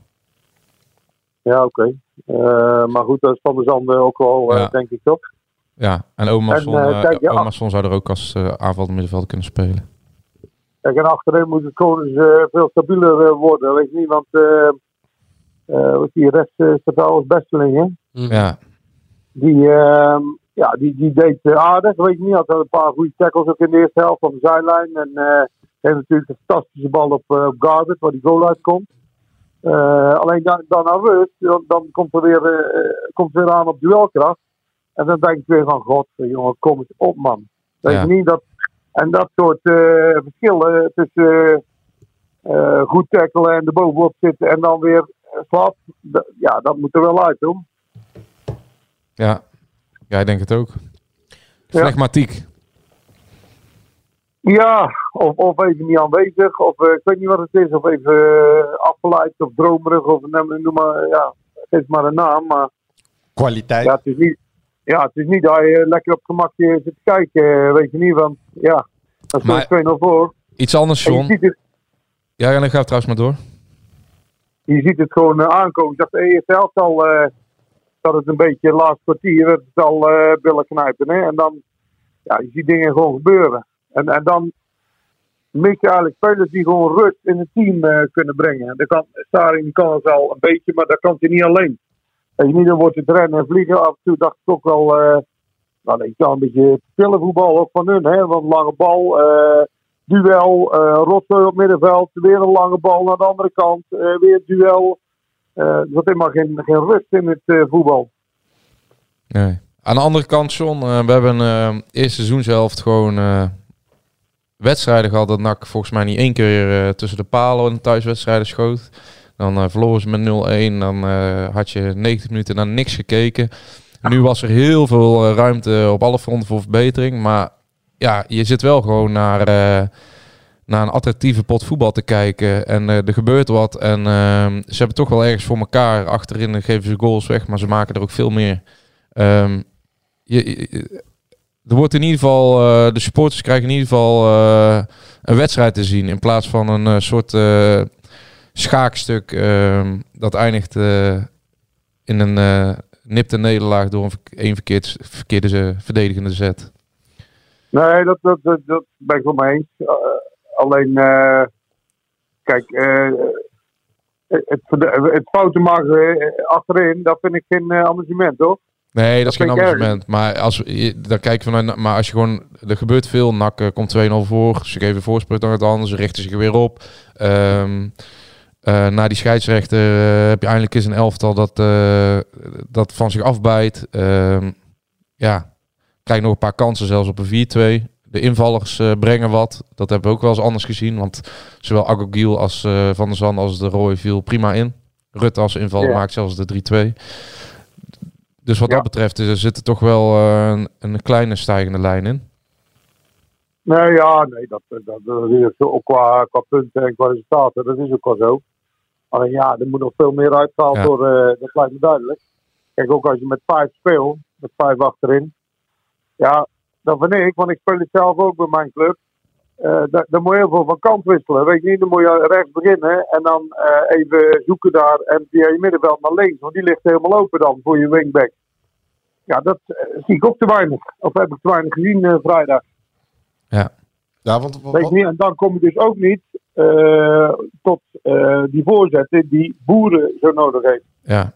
Speaker 12: Ja, oké. Eh, maar goed, dat is Van der Zander ook wel, eh,
Speaker 9: Ja.
Speaker 12: denk ik toch.
Speaker 9: Ja, en Omerson,
Speaker 12: En,
Speaker 9: en,
Speaker 12: eh, kijk, ja.
Speaker 9: zou er ook als eh aanvallend middenveld kunnen spelen.
Speaker 12: Kijk, en achterin moet het gewoon eens, eh, veel stabieler eh, worden. Weet je niet, want eh eh, wat die rest eh, staat wel als besteling, hè?
Speaker 9: Ja.
Speaker 12: Die, ehm, ja, die, die deed eh, aardig. Weet ik niet, had wel een paar goede tackles ook in de eerste helft van de zijlijn. En eh heeft natuurlijk een fantastische bal op, eh, op Garbutt, waar die goal uitkomt. Eh, alleen dan, dan naar rust, dan, dan komt er weer, eh, komt het weer aan op duelkracht. En dan denk ik weer van, god, eh, jongen, kom eens op, man. Weet
Speaker 13: Ja.
Speaker 12: je niet dat... En dat soort eh, verschillen tussen eh, eh, goed tackelen en er bovenop zitten en dan weer eh, slap, d- ja, dat moet er wel uit, hoor.
Speaker 9: Ja, ja ik denk het ook. Flegmatiek.
Speaker 12: Ja, of, of even niet aanwezig, of eh, ik weet niet wat het is, of even eh, afgeleid, of dromerig, of noem, noem maar, ja, geef maar een naam. Maar
Speaker 8: Kwaliteit.
Speaker 12: ja, het is niet, ja, het is niet dat je lekker op gemakje zit te kijken, eh, weet je niet, want ja, dat
Speaker 9: Maar-
Speaker 12: staat 2-0 voor.
Speaker 9: Iets anders,
Speaker 12: En je
Speaker 9: John.
Speaker 12: ziet het,
Speaker 9: Ja, en dan gaan we trouwens maar door.
Speaker 12: je ziet het gewoon eh, aankomen. Ik dacht de eerste helft al eh, dat het een beetje het laatste kwartier dat het al eh billen knijpen. Hè? En dan, ja, je ziet dingen gewoon gebeuren. En, en dan mis je eigenlijk spelers die gewoon rust in het team eh, kunnen brengen. En dat kan, Staring die kan het wel een beetje, maar dat kan hij niet alleen. En niet dan wordt het rennen en vliegen. Af en toe dacht ik ook wel, eh nou, ik kan een beetje pillenvoetbal ook van hun. Hè? Want lange bal, eh, duel, eh rotzooi op middenveld, weer een lange bal naar de andere kant, eh, weer duel. Eh, er zat helemaal geen, geen rust in het eh, voetbal.
Speaker 9: Nee. Aan de andere kant, John, eh, we hebben eh eerste seizoenshelft gewoon eh, wedstrijden gehad dat NAC volgens mij niet één keer eh, tussen de palen en thuiswedstrijden schoot. Dan eh, verloren ze met 0-1, dan eh, had je 90 minuten naar niks gekeken. Nu was er heel veel eh, ruimte op alle fronten voor verbetering, maar ja, je zit wel gewoon naar, eh, naar een attractieve pot voetbal te kijken. En eh, er gebeurt wat. En ehm, ze hebben toch wel ergens voor elkaar. Achterin geven ze goals weg, maar ze maken er ook veel meer. Ehm, je, je- er wordt in ieder geval, eh, de supporters krijgen in ieder geval eh, een wedstrijd te zien. In plaats van een eh, soort eh, schaakstuk ehm, dat eindigt eh, in een eh, nipte nederlaag door een, verk- één verkeerd, verkeerde eh, verdedigende zet.
Speaker 12: Nee, dat, dat, dat, dat ben ik wel mee eens. Eh, alleen, eh, kijk, eh, het, verde- het fouten maken eh, achterin, dat vind ik geen eh, amusement, hoor.
Speaker 9: Nee, dat, is geen
Speaker 12: vind ik erg.
Speaker 9: argument. Maar als we- je- dan kijken we naar, maar als je gewoon er gebeurt veel, Nak eh, komt 2-0 voor, ze geven voorsprong aan het anders, ze richten zich weer op. Ehm eh, na die scheidsrechter eh, heb je eindelijk eens een elftal dat, eh, dat van zich afbijt. Ehm, ja, krijg nog een paar kansen zelfs op een 4-2. De invallers eh, brengen wat. Dat hebben we ook wel eens anders gezien. Want zowel Agogiel als eh, Van der Zand als de Roy viel prima in. Rutte als invaller
Speaker 8: Ja.
Speaker 9: maakt zelfs de 3-2. Dus wat dat betreft is, er zit er toch wel eh, een, een kleine stijgende lijn in.
Speaker 12: Nee, ja, nee, dat, eh, dat, dat is ook zo, qua, qua punten en qua resultaten, dat is ook wel zo. Alleen ja, er moet nog veel meer uitgehaald
Speaker 9: Ja.
Speaker 12: worden, eh, dat lijkt me duidelijk. Kijk, ook als je met vijf speelt, met vijf achterin, ja, dat vind ik, want ik speel het zelf ook bij mijn club. Eh daar, daar moet je heel veel van kant wisselen. Weet je niet, dan moet je rechts beginnen en dan eh, even zoeken daar en via je middenveld naar links, want die ligt helemaal open dan voor je wingback. Ja, dat eh, zie ik ook te weinig. Of heb ik te weinig gezien eh, vrijdag.
Speaker 9: Ja.
Speaker 8: Ja, want
Speaker 12: Weet je niet, en dan kom je dus ook niet eh, tot eh, die voorzetten die boeren zo nodig heeft.
Speaker 9: Ja.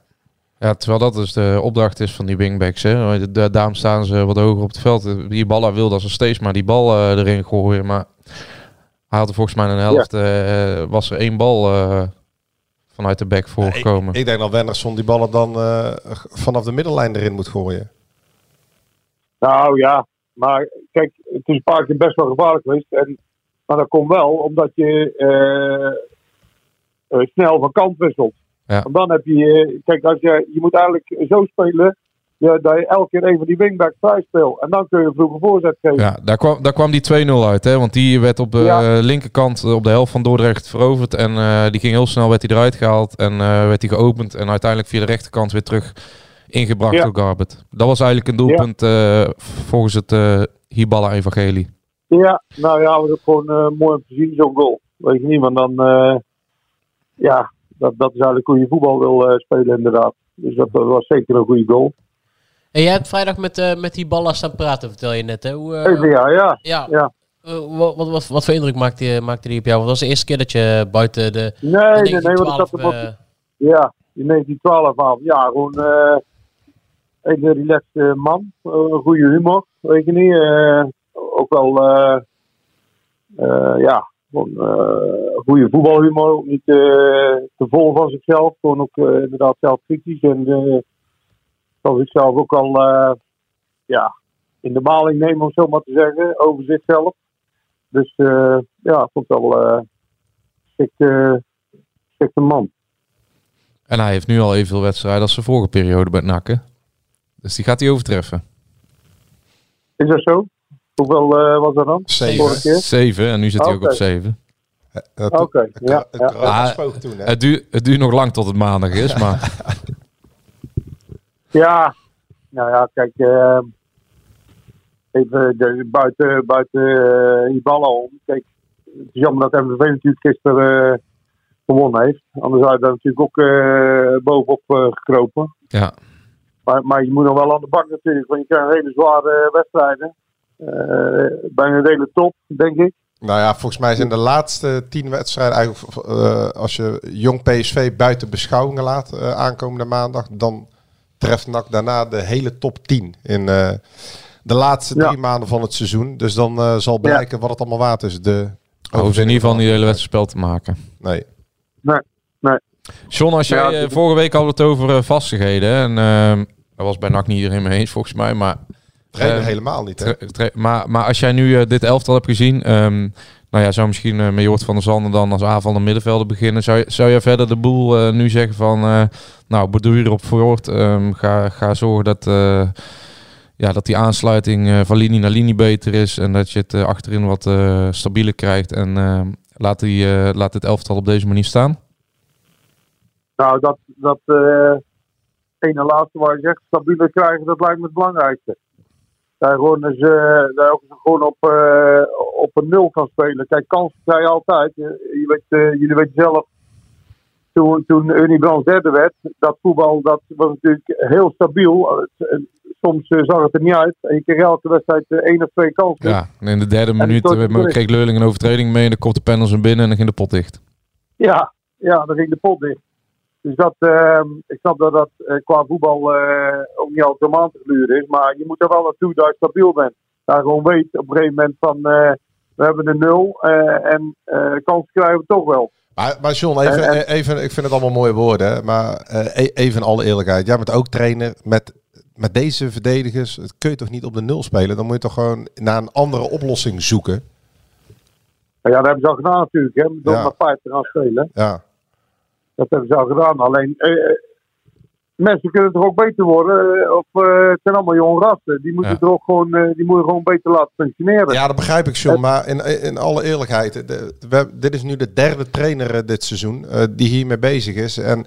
Speaker 9: ja, terwijl dat dus de opdracht is van die wingbacks. Hè. Da- da- Daarom staan ze wat hoger op het veld. Die balla wil dat ze steeds maar die bal eh, erin gooien. Maar hij had er volgens mij een helft. eh, was er één bal eh, vanuit de back voorgekomen.
Speaker 8: Ik denk dat Wenderson die ballen dan eh, g- vanaf de middenlijn erin moet gooien.
Speaker 12: Nou ja, maar kijk, het is een paar keer best wel gevaarlijk geweest. En, maar dat komt wel omdat je eh, eh, snel van kant wisselt.
Speaker 9: Ja.
Speaker 12: Want dan heb je, eh, kijk, als je, je moet eigenlijk zo spelen ja, dat je elke keer even die wingback vrij speelt. En dan kun je vroeg een voorzet geven.
Speaker 9: Ja, daar kwam, daar kwam die 2-0 uit. Hè? Want die werd op de
Speaker 12: Ja.
Speaker 9: eh, linkerkant eh, op de helft van Dordrecht veroverd. En eh, die ging heel snel werd die eruit gehaald. En eh, werd die geopend. En uiteindelijk via de rechterkant weer terug ingebracht
Speaker 12: Ja.
Speaker 9: door Garbert. Dat was eigenlijk een doelpunt eh, volgens het eh Hiballa-evangelie.
Speaker 12: Ja, nou ja, was ook gewoon eh, mooi om te zien, zo'n goal. Weet je niet, want dan... eh, ja, dat, dat is eigenlijk hoe je voetbal wil eh, spelen inderdaad. Dus dat was zeker een goede goal.
Speaker 7: En jij hebt vrijdag met, eh, met die ballen staan praten, vertel je net. Hè? Hoe, eh,
Speaker 12: Even, ja, ja.
Speaker 7: ja.
Speaker 12: ja.
Speaker 7: eh, wat, wat, wat, wat voor indruk maakte, maakte die op jou? Want dat was de eerste keer dat je buiten de...
Speaker 12: Nee, nee, nee, want ik had
Speaker 7: 1912,
Speaker 12: hem ook... Ja, in 1912 af. Ja, gewoon... eh, hele eh, relaxte man. Eh, Een goede humor, weet je niet. Eh, ook wel, eh, eh, ja, gewoon, eh, goede voetbalhumor. Ook niet eh, te vol van zichzelf. Gewoon ook eh, inderdaad zelfkritisch. En eh, kan zichzelf ook al eh, ja, in de maling nemen, om zo maar te zeggen, over zichzelf. Dus eh, ja, ik vond het wel eh geschikt, eh, geschikte man.
Speaker 9: En hij heeft nu al evenveel wedstrijden als zijn vorige periode bij het NAC, hè? Dus die gaat hij overtreffen.
Speaker 12: Is dat zo? Hoeveel eh, was dat dan? Vorige keer?
Speaker 9: Zeven, en nu zit hij ook op
Speaker 12: Oké.
Speaker 9: zeven.
Speaker 12: Oké, ja. ja.
Speaker 9: Maar het, duurt, het duurt nog lang tot het maandag is, maar...
Speaker 12: Ja, nou ja, kijk. eh, even de- buiten, buiten eh, Ibala om. Kijk, het is jammer dat MVV natuurlijk gisteren eh, gewonnen heeft. Anders had daar natuurlijk ook eh, bovenop eh, gekropen.
Speaker 9: Ja.
Speaker 12: Maar, maar je moet nog wel aan de bak natuurlijk, want je krijgt hele zware eh, wedstrijden. Eh, bijna de hele top, denk ik.
Speaker 8: Nou ja, volgens mij zijn de laatste tien wedstrijden eigenlijk, eh, als je jong PSV buiten beschouwingen laat eh, aankomende maandag, dan treft NAC daarna de hele top 10 in eh, de laatste drie maanden van het seizoen. Dus dan eh, zal blijken wat het allemaal waard is. De
Speaker 9: Hoeft Oh, in ieder geval niet het hele wedstrijd spel te maken.
Speaker 8: Nee.
Speaker 12: Nee, nee.
Speaker 9: John, als jij,
Speaker 12: Ja,
Speaker 9: eh,
Speaker 12: dat-
Speaker 9: vorige week hadden we het over eh, vastigheden. hè, En, ehm dat was bij NAC niet iedereen mee eens, volgens mij. Maar,
Speaker 8: Trainer
Speaker 9: ehm,
Speaker 8: helemaal niet, hè?
Speaker 9: tra- tra- maar, maar als jij nu eh, dit elftal hebt gezien... ehm, nou ja, zou misschien eh met Jort van der Zanden dan als aanvallende middenvelder beginnen. Zou, je- zou jij verder de boel eh, nu zeggen van... eh, nou, bedoel je erop voor Jort, ehm, ga, ga zorgen dat, eh, ja, dat die aansluiting eh, van linie naar linie beter is. En dat je het eh, achterin wat eh, stabieler krijgt. En ehm, laat, die, eh, laat dit elftal op deze manier staan.
Speaker 12: Nou, dat, dat eh, ene laatste waar je zegt, stabieler krijgen, dat lijkt me het belangrijkste. Daar gewoon eens, eh, daar ook eens gewoon op, eh, op een nul kan spelen. Kijk, kansen krijg je altijd. Je, je weet, eh, jullie weten zelf, toen, toen Ernie Brands derde werd, dat voetbal dat was natuurlijk heel stabiel. Het- het- Soms eh, zag het er niet uit. En je kreeg elke wedstrijd eh, één of twee kansen.
Speaker 9: Ja, en in de derde minuut
Speaker 12: stort het
Speaker 9: eh,
Speaker 12: terug.
Speaker 9: kreeg Leurling een overtreding mee. En dan komt de panels hem binnen en dan ging de pot dicht.
Speaker 12: Ja, ja, dan ging de pot dicht. Dus dat, ehm, ik snap dat dat eh, qua voetbal eh, ook niet altijd om aan te gluren is. Maar je moet er wel naartoe dat je stabiel bent. Daar gewoon weet op een gegeven moment van eh, we hebben een nul eh, en eh kansen krijgen we toch wel.
Speaker 8: Maar, maar John, even, eh,
Speaker 12: En- en-
Speaker 8: even, ik vind het allemaal mooie woorden, hè, maar eh, e- even in alle eerlijkheid. Jij bent ook trainer met, met deze verdedigers. Het kun je toch niet op de nul spelen? Dan moet je toch gewoon naar een andere oplossing zoeken.
Speaker 12: Maar ja, dat hebben ze al gedaan natuurlijk. Hè, door
Speaker 8: Ja.
Speaker 12: maar vijf te gaan spelen.
Speaker 8: Ja.
Speaker 12: Dat hebben ze al gedaan. Alleen eh, eh, mensen kunnen toch ook beter worden. eh, of eh, het zijn allemaal jonge rassen. Die moeten
Speaker 8: Ja.
Speaker 12: er ook gewoon, eh, die moeten gewoon beter laten functioneren.
Speaker 8: Ja, dat begrijp ik, John. Maar in, in alle eerlijkheid, de- we- dit is nu de derde trainer eh, dit seizoen eh, die hiermee bezig is. En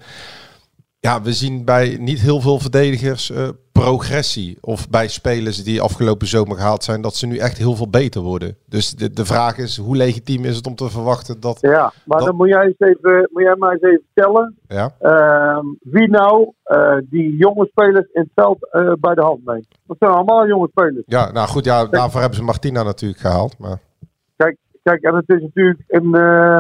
Speaker 8: ja, we zien bij niet heel veel verdedigers eh, progressie. Of bij spelers die afgelopen zomer gehaald zijn, dat ze nu echt heel veel beter worden. Dus de, de vraag is, hoe legitiem is het om te verwachten dat...
Speaker 12: Ja, maar dan moet jij, eens even, moet jij mij eens even vertellen
Speaker 8: Ja.
Speaker 12: ehm, wie nou eh, die jonge spelers in het veld eh, bij de hand neemt. Dat zijn allemaal jonge spelers.
Speaker 8: ja, nou goed, ja, daarvoor hebben ze Martina natuurlijk gehaald. Maar...
Speaker 12: Kijk, kijk en het is natuurlijk een, eh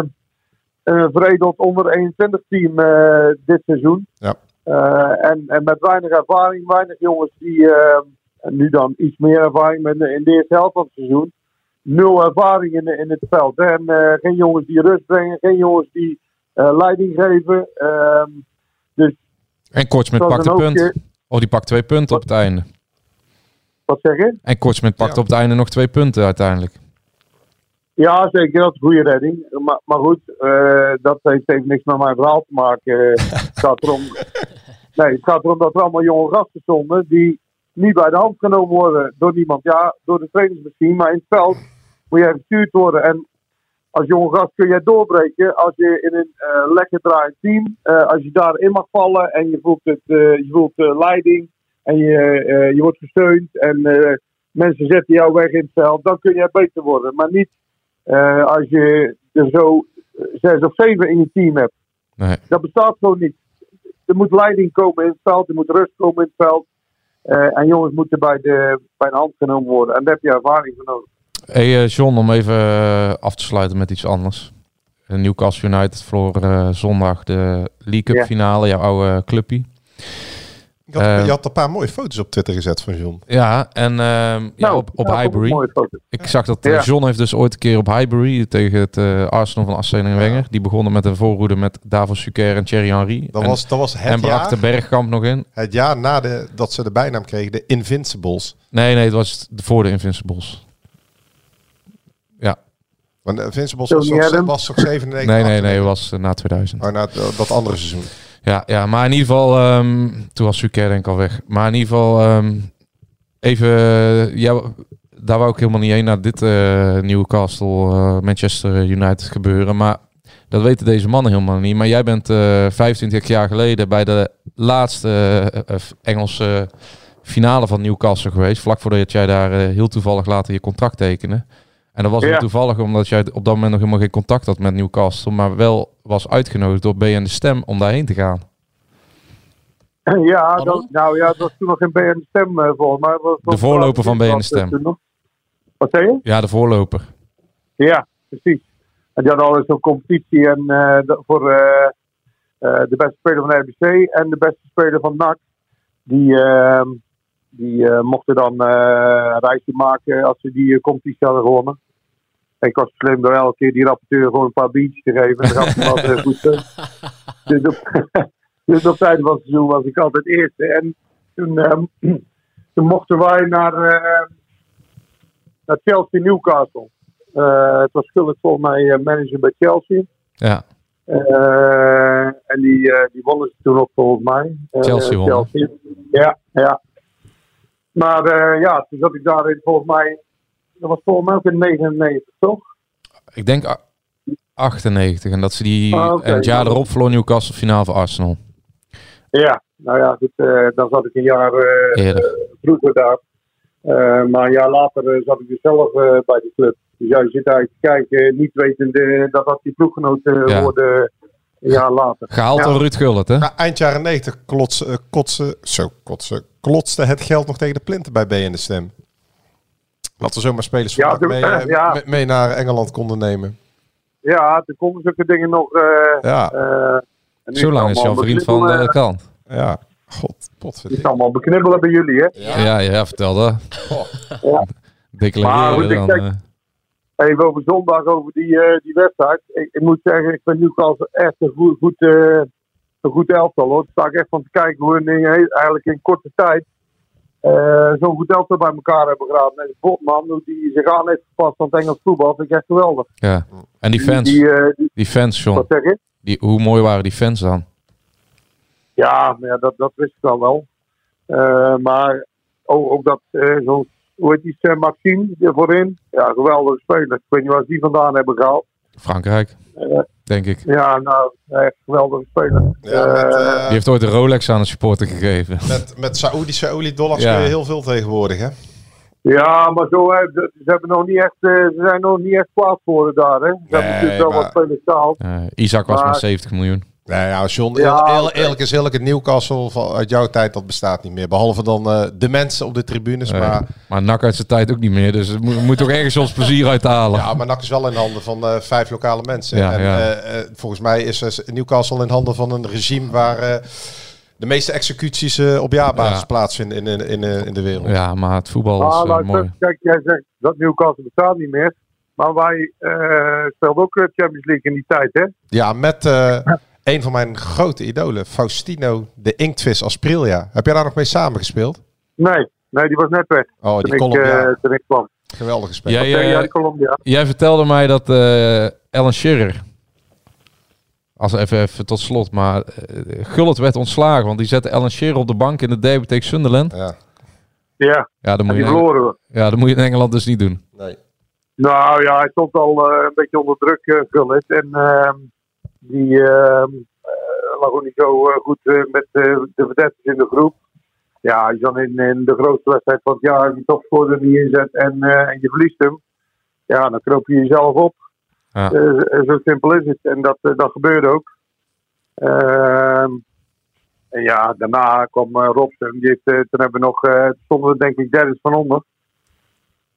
Speaker 12: een veredeld onder 21 team eh, dit seizoen.
Speaker 8: Ja.
Speaker 12: Eh, en, en met weinig ervaring, weinig jongens die eh, en nu dan iets meer ervaring met, in de eerste helft van het seizoen. Nul ervaring in, in het veld. hè. En eh, geen jongens die rust brengen, geen jongens die eh, leiding geven. Ehm, dus
Speaker 9: En Kortsmit
Speaker 12: Dat is
Speaker 9: pakt een
Speaker 12: een
Speaker 9: punt.
Speaker 12: hoopje.
Speaker 9: Oh, die pakt twee punten op het einde.
Speaker 12: wat zeg je?
Speaker 9: En Kortsmit pakt op het einde nog twee punten uiteindelijk.
Speaker 12: Ja, zeker. Dat is een goede redding. Maar, maar goed, eh, dat heeft even niks met mijn verhaal te maken. Eh, het, gaat erom, nee, het gaat erom dat er allemaal jonge gasten stonden die niet bij de hand genomen worden door niemand. Ja, door de trainers misschien, maar in het veld moet jij gestuurd worden. En als jonge gast kun jij doorbreken als je in een eh, lekker draaiend team, eh, als je daarin mag vallen en je voelt, het, eh, je voelt eh, leiding en je, eh, je wordt gesteund en eh, mensen zetten jou weg in het veld, dan kun jij beter worden. Maar niet eh, als je er zo eh, zes of zeven in je team hebt.
Speaker 9: Nee.
Speaker 12: Dat bestaat gewoon niet. Er moet leiding komen in het veld, er moet rust komen in het veld. Eh, en jongens moeten bij de, bij de hand genomen worden. En daar heb je ervaring voor nodig.
Speaker 9: hey, eh, John, om even eh, af te sluiten met iets anders. Eh, Newcastle United verloor eh, zondag de League Cup
Speaker 12: Ja.
Speaker 9: finale, jouw oude clubpie.
Speaker 8: Je had,
Speaker 9: Eh,
Speaker 8: je had een paar mooie foto's op Twitter gezet van John.
Speaker 9: Ja, en ehm,
Speaker 12: Nou,
Speaker 9: ja, op, op
Speaker 8: ja, vond ik
Speaker 9: Highbury.
Speaker 8: een mooie foto.
Speaker 9: Ik zag dat eh,
Speaker 8: Ja.
Speaker 9: John heeft dus ooit een keer op Highbury tegen het eh, Arsenal van Arsene en Wenger. Die begonnen met een voorroede met Davos Suker en Thierry Henry.
Speaker 8: Dat
Speaker 9: en,
Speaker 8: was, dat was het
Speaker 9: En bracht
Speaker 8: jaar,
Speaker 9: de Bergkamp nog in.
Speaker 8: Het jaar na de, dat ze de bijnaam kregen, de Invincibles.
Speaker 9: Nee, nee, het was voor de Invincibles. Ja.
Speaker 8: Want de Invincibles
Speaker 9: Tony
Speaker 8: was toch,
Speaker 9: Adams?
Speaker 8: was toch 97?
Speaker 9: Nee, nee, nee, het was eh, na 2000.
Speaker 8: Oh, na het- dat andere seizoen.
Speaker 9: Ja, ja, maar in ieder geval, ehm, toen was Suker denk ik al weg. Maar in ieder geval, ehm, even, eh, ja, daar wou ik helemaal niet heen naar dit eh, Newcastle, eh, Manchester United gebeuren. Maar dat weten deze mannen helemaal niet. Maar jij bent eh 25 jaar geleden bij de laatste eh, eh, Engelse finale van Newcastle geweest. Vlak voordat jij daar eh, heel toevallig later je contract tekende. En dat was
Speaker 13: Ja.
Speaker 9: heel toevallig omdat jij op dat moment nog helemaal geen contact had met Newcastle. Maar wel was uitgenodigd door BN De Stem om daarheen te gaan.
Speaker 12: Ja, dat, nou ja, dat was toen nog geen BN Stem eh, volgens mij. Dat was-
Speaker 9: De voorloper van BN De Stem.
Speaker 12: toen nog. Wat zei je?
Speaker 9: Ja, de voorloper.
Speaker 12: Ja, precies. En die hadden al eens zo'n competitie en, eh, dat- voor eh, eh, de beste speler van RBC en de beste speler van NAC. Die, ehm, die eh, mochten dan eh, een rijtje maken als ze die eh, competitie hadden gewonnen. En ik was slim door elke keer die rapporteur gewoon een paar biertjes te geven. En dan gaf hij altijd goed. eh. Dus op, dus op het einde van het seizoen was ik altijd eerste. En toen, ehm, toen mochten wij naar, eh, naar Chelsea Newcastle. Eh, het was schuldig voor mij eh, manager bij Chelsea.
Speaker 9: Ja.
Speaker 12: Eh, en die, eh, die wonnen ze toen ook volgens mij. Eh,
Speaker 9: Chelsea won.
Speaker 12: Ja, ja. Maar eh, ja, toen zat ik daarin volgens mij. Dat was volgens mij ook in 99, toch?
Speaker 9: Ik denk a- 98. En dat ze die
Speaker 12: Ah, oké.
Speaker 9: en het jaar erop verloor Newcastle finale van Arsenal.
Speaker 12: Ja, nou ja, goed, eh, dan zat ik een jaar eh,
Speaker 9: Eerder.
Speaker 12: eh, vroeger daar. Eh, maar een jaar later eh, zat ik dus zelf eh, bij de club. Dus jij zit eigenlijk te kijken, eh, niet wetende dat dat die ploeggenoot eh,
Speaker 9: Ja.
Speaker 12: worden een jaar later.
Speaker 9: Gehaald
Speaker 12: Ja.
Speaker 9: door Ruud Gullit, hè?
Speaker 8: Maar eind jaren 90 klotsen, eh, kotsen, zo, kotsen, klotste het geld nog tegen de plinten bij BN de Stem. Dat we zomaar spelers van
Speaker 12: Ja,
Speaker 8: NAC
Speaker 12: toen-
Speaker 8: mee,
Speaker 12: eh,
Speaker 8: eh,
Speaker 12: ja.
Speaker 8: me- mee naar Engeland konden nemen.
Speaker 12: Ja, toen komen zulke dingen nog. eh,
Speaker 8: Ja.
Speaker 12: eh, en nu
Speaker 9: Zo lang
Speaker 12: het
Speaker 9: is jouw
Speaker 12: allemaal
Speaker 9: vriend van de
Speaker 12: beknibbelen.
Speaker 9: kant.
Speaker 8: Ja, god,
Speaker 12: Het is allemaal beknibbelen bij jullie, hè?
Speaker 9: Ja, ja, vertel dat.
Speaker 12: Ja. Maar
Speaker 9: Declareren
Speaker 12: goed, ik
Speaker 9: dan.
Speaker 12: kijk-
Speaker 9: eh.
Speaker 12: Even over zondag, over die, eh, die wedstrijd. Ik, ik moet zeggen, ik vind Newcastle echt een goed, goed, eh, een goed elftal. Hoor. Daar sta ik echt van te kijken hoe hun in- eigenlijk in korte tijd eh, zo'n goed elftal bij elkaar hebben geraden. En Botman, hoe die zich aan heeft gepast aan het Engels voetbal, vind ik echt geweldig.
Speaker 9: Ja. En die
Speaker 12: Die-
Speaker 9: fans.
Speaker 12: die, eh, die-
Speaker 9: Die fans,
Speaker 12: Wat
Speaker 9: John.
Speaker 12: zeg je?
Speaker 9: Die, hoe mooi waren die fans dan?
Speaker 12: Ja, maar ja dat, dat wist ik al wel. Eh, maar ook, ook dat, eh zo'n, hoe heet die, Sam Maxime er voorin? Ja, geweldige speler. Ik weet niet waar ze die vandaan hebben gehaald.
Speaker 9: Frankrijk,
Speaker 12: Eh,
Speaker 9: denk ik.
Speaker 12: ja, nou, echt geweldige speler. Eh,
Speaker 9: Die heeft ooit een Rolex aan een supporter gegeven.
Speaker 8: Met, met Saoedische oliedollars
Speaker 9: Ja.
Speaker 8: kun je heel veel tegenwoordig, hè?
Speaker 12: Ja, maar zo, hè, ze, ze hebben nog niet echt, eh, ze zijn nog niet echt kwaad voor daar. Hè. Ze hebben natuurlijk wel
Speaker 8: maar-
Speaker 12: wat spelers gehaald.
Speaker 9: Eh, Isaac was
Speaker 12: Maar-
Speaker 9: maar 70 miljoen.
Speaker 8: Nou ja, John,
Speaker 12: Ja,
Speaker 8: eer- eer-
Speaker 12: oké.
Speaker 8: eerlijk is eerlijk, het Newcastle van, uit jouw tijd, dat bestaat niet meer. Behalve dan eh, de mensen op de tribunes,
Speaker 9: Eh,
Speaker 8: maar...
Speaker 9: maar Nak uit zijn tijd ook niet meer. Dus we moet, moet toch ergens ons plezier uithalen.
Speaker 8: Ja, maar NAC is wel in handen van eh, vijf lokale mensen.
Speaker 9: Ja,
Speaker 8: en
Speaker 9: ja.
Speaker 8: eh, eh, volgens mij is eh, Newcastle in handen van een regime waar eh, de meeste executies eh, op jaarbasis
Speaker 9: Ja.
Speaker 8: plaatsvinden in, in, in, eh, in de wereld.
Speaker 9: Ja, maar het voetbal is
Speaker 12: Ah,
Speaker 9: eh,
Speaker 12: luister,
Speaker 9: mooi.
Speaker 12: Kijk, jij zegt dat Newcastle bestaat niet meer. Maar wij eh speelden ook eh, Champions League in die tijd, hè?
Speaker 8: Ja, met eh, een van mijn grote idolen, Faustino de Inktvis Asprilia. Heb jij daar nog mee samengespeeld?
Speaker 12: Nee, nee die was net weg.
Speaker 8: Oh, die
Speaker 12: toen, ik,
Speaker 8: Colombiaan.
Speaker 12: eh, toen ik kwam.
Speaker 8: Geweldige speler.
Speaker 9: Jij,
Speaker 12: Wat zeg
Speaker 9: eh,
Speaker 12: jij, die Colombia?
Speaker 9: jij vertelde mij dat eh Alan Shearer, als even, even tot slot, maar eh, Gullit werd ontslagen, want die zette Alan Shearer op de bank in de derby tegen Sunderland.
Speaker 8: Ja,
Speaker 12: Ja,
Speaker 9: ja, dan
Speaker 12: en
Speaker 9: moet
Speaker 12: die
Speaker 9: je in-
Speaker 12: verloren we.
Speaker 9: ja, dat moet je in Engeland dus niet doen.
Speaker 12: Nou ja, hij stond al eh, een beetje onder druk, eh Gullit. En ehm, die ehm eh, lag ook niet zo eh, goed eh, met eh, de verdedigers in de groep. Ja, als je dan in, in de grootste wedstrijd van het jaar die topscorer niet inzet en, eh, en je verliest hem. Ja, dan knoop je jezelf op.
Speaker 9: Ja.
Speaker 12: Eh, zo simpel is het. En dat, eh, dat gebeurde ook. Ehm, en ja, daarna kwam eh, Robson. Die heeft, eh, toen hebben we nog, eh, stonden we denk ik derde van onder.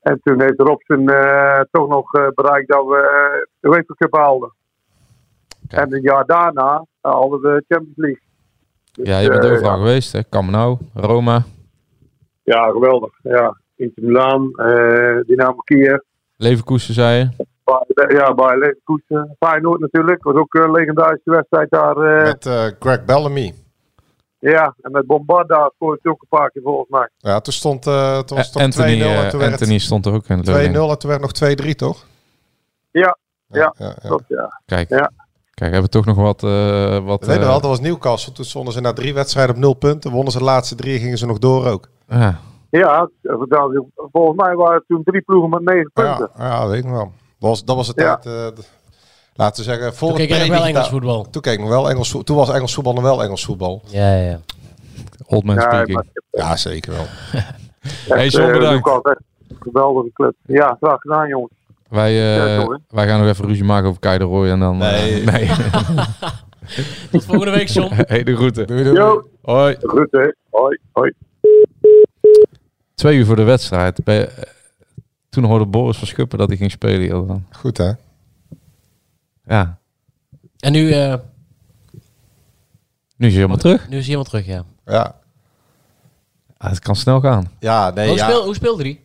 Speaker 12: En toen heeft Robson eh, toch nog eh, bereikt dat we eh, de UEFA Cup haalden. En een jaar daarna haalden we de Champions League.
Speaker 9: Ja, je bent
Speaker 12: eh,
Speaker 9: overal geweest, hè? Camp Nou, Roma.
Speaker 12: Ja, geweldig. Ja. Inter Milan, eh, Dynamo Kiev.
Speaker 9: Leverkusen, zei je.
Speaker 12: Bayer- Ja, bij Leverkusen. Feyenoord natuurlijk. was ook een legendarische wedstrijd daar. eh.
Speaker 8: Met eh, Greg Bellamy.
Speaker 12: Ja, en met Bombarda scoorde hij ook een paar keer volgens mij.
Speaker 8: Ja, toen stond eh toen was het nog 2-0
Speaker 9: Anthony,
Speaker 8: en
Speaker 9: eh,
Speaker 8: toen werd het 2-0
Speaker 9: Anthony stond er ook in de
Speaker 8: en
Speaker 9: leiding.
Speaker 8: toen werd het nog 2-3, toch?
Speaker 12: Ja, ja, klopt ja.
Speaker 9: Kijk,
Speaker 12: Ja.
Speaker 9: kijk, hebben we toch nog wat... eh wat
Speaker 8: We weten
Speaker 9: eh,
Speaker 8: wel, dat was Newcastle. Toen stonden ze na drie wedstrijden op nul punten. Wonnen ze de laatste drie, gingen ze nog door ook.
Speaker 9: ja.
Speaker 12: Ja, vertel- volgens mij waren het toen drie ploegen met negen punten.
Speaker 8: Ja, weet ik wel. Was, dat was de
Speaker 12: Ja.
Speaker 8: tijd. eh, d- laten we zeggen,
Speaker 7: Toen
Speaker 8: voor het
Speaker 7: keek ik nog wel
Speaker 8: predigitaal-
Speaker 7: Engels voetbal.
Speaker 8: Toen, keek ik nog wel Engels, vo- toen was Engels voetbal nog wel Engels voetbal.
Speaker 7: Ja, ja, ja.
Speaker 9: Old man
Speaker 8: Ja,
Speaker 9: speaking.
Speaker 8: Ja, zeker wel.
Speaker 9: Hey, John,
Speaker 12: eh,
Speaker 9: bedankt.
Speaker 12: Lucas, echt een geweldige club. Ja, graag gedaan jongens.
Speaker 9: Wij, eh,
Speaker 12: Ja, sorry.
Speaker 9: wij gaan nog even ruzie maken over Kei de Roy en dan... Nee. nee.
Speaker 7: Tot volgende week, John.
Speaker 9: hey, de groeten.
Speaker 12: Jo.
Speaker 9: Hoi.
Speaker 12: Groeten. Hoi, hoi.
Speaker 9: Twee uur voor de wedstrijd. Bij, eh, toen hoorde Boris van Schuppen dat hij ging spelen. joh, dan.
Speaker 8: Goed, hè?
Speaker 9: Ja,
Speaker 7: En nu, eh,
Speaker 9: nu is hij helemaal terug.
Speaker 7: nu is hij helemaal terug, ja.
Speaker 8: Ja,
Speaker 9: Ah, het kan snel gaan.
Speaker 8: ja nee,
Speaker 7: hoe,
Speaker 8: ja.
Speaker 7: Speel, hoe speelde hij?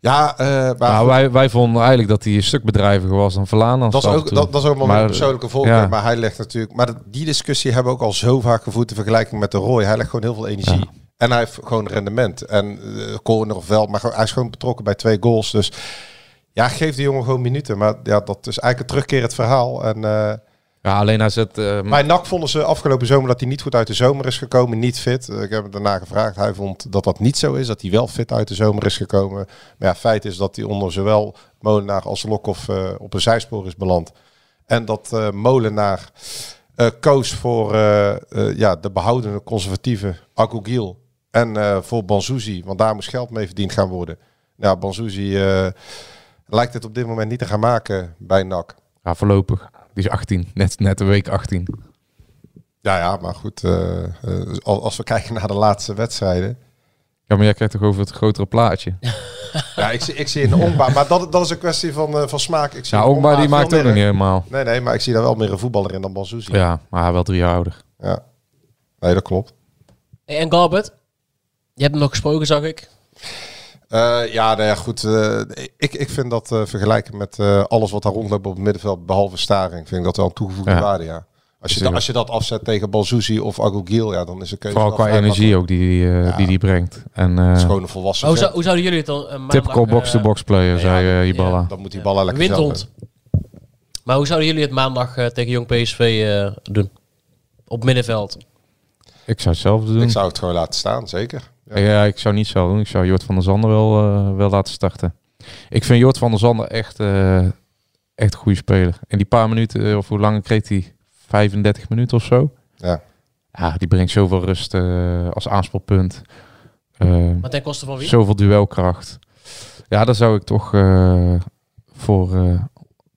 Speaker 8: Ja, eh, maar
Speaker 9: Nou,
Speaker 8: goed,
Speaker 9: wij, wij vonden eigenlijk dat hij een stuk bedrijviger was dan Verlaan.
Speaker 8: dat, is ook, dat, dat is ook wel een persoonlijke voorkeur.
Speaker 9: ja.
Speaker 8: Maar hij legt natuurlijk... Maar die discussie hebben we ook al zo vaak gevoerd in vergelijking met de Roy. Hij legt gewoon heel veel energie. En hij heeft gewoon rendement. En eh, corner of wel, maar gewoon- hij is gewoon betrokken bij twee goals. Dus ja, geef de jongen gewoon minuten. Maar ja, dat is eigenlijk een terugkerend verhaal. En... eh,
Speaker 9: Ja, alleen hij zet... eh,
Speaker 8: Bij NAC vonden ze afgelopen zomer dat hij niet goed uit de zomer is gekomen, niet fit. Eh, Ik heb hem daarna gevraagd. Hij vond dat dat niet zo is, dat hij wel fit uit de zomer is gekomen. Maar ja, feit is dat hij onder zowel Molenaar als Lokhoff eh, op een zijspoor is beland. En dat eh, Molenaar eh, koos voor eh, eh, ja, de behoudende conservatieve Agogiel en eh, voor Banzuzi, want daar moest geld mee verdiend gaan worden. Nou, Banzuzi eh, lijkt het op dit moment niet te gaan maken bij NAC.
Speaker 9: ja, voorlopig. Die is 18. Net, net de week 18.
Speaker 8: Ja, ja, maar goed. eh, eh, al- als we kijken naar de laatste wedstrijden.
Speaker 9: Ja, maar jij krijgt toch over het grotere plaatje?
Speaker 8: Ja, ik, zie- ik zie een Ongba. Maar dat, dat is een kwestie van, eh, van smaak. Ik zie
Speaker 9: Ja,
Speaker 8: in
Speaker 9: Ongba die
Speaker 8: veel
Speaker 9: maakt ook
Speaker 8: meer-
Speaker 9: nog niet helemaal.
Speaker 8: Nee, nee, maar ik zie daar wel meer een voetballer in dan Banzuzi.
Speaker 9: Ja, maar hij wel drie jaar ouder.
Speaker 8: ja. Nee, dat klopt.
Speaker 7: Hey, en Garbert? Je hebt hem nog gesproken, zag ik.
Speaker 8: Eh, ja, nou ja, goed. eh, ik, ik vind dat eh, vergelijken met eh, alles wat daar rondloopt op het middenveld, behalve staring, vind ik dat wel een toegevoegde
Speaker 9: Ja.
Speaker 8: waarde, ja. Als je, da-
Speaker 9: Zeker.
Speaker 8: als je dat afzet tegen Banzuzi of Agogiel, ja, dan is de keuze...
Speaker 9: Vooral
Speaker 8: wel
Speaker 9: qua
Speaker 8: vrij
Speaker 9: energie
Speaker 8: makkelijk.
Speaker 9: ook die die, eh, die, die brengt. En, eh
Speaker 8: Het is gewoon een volwassen
Speaker 7: Maar hoe,
Speaker 8: vent.
Speaker 7: zou- hoe zouden jullie het dan... eh, maandag,
Speaker 9: typical
Speaker 7: eh,
Speaker 9: box-to-box player, zei eh Ibala.
Speaker 8: Dan moet die ballen lekker zelf
Speaker 7: Windhond. Maar hoe zouden jullie het maandag eh, tegen Jong PSV eh, doen? Op middenveld.
Speaker 9: Ik zou hetzelfde doen.
Speaker 8: eh, Ik zou het gewoon laten staan, zeker.
Speaker 9: Ja. ik zou niet zo doen. Ik zou Jort van der Zander wel, eh, wel laten starten. Ik vind Jort van der Zander echt, eh, echt een goede speler. En die paar minuten, eh, of hoe lang kreeg hij? 35 minuten of zo?
Speaker 8: Ja.
Speaker 9: Ja, die brengt zoveel rust eh, als aanspoelpunt. Eh,
Speaker 7: Maar ten koste van wie?
Speaker 9: Zoveel duelkracht. Ja, daar zou ik toch eh, voor eh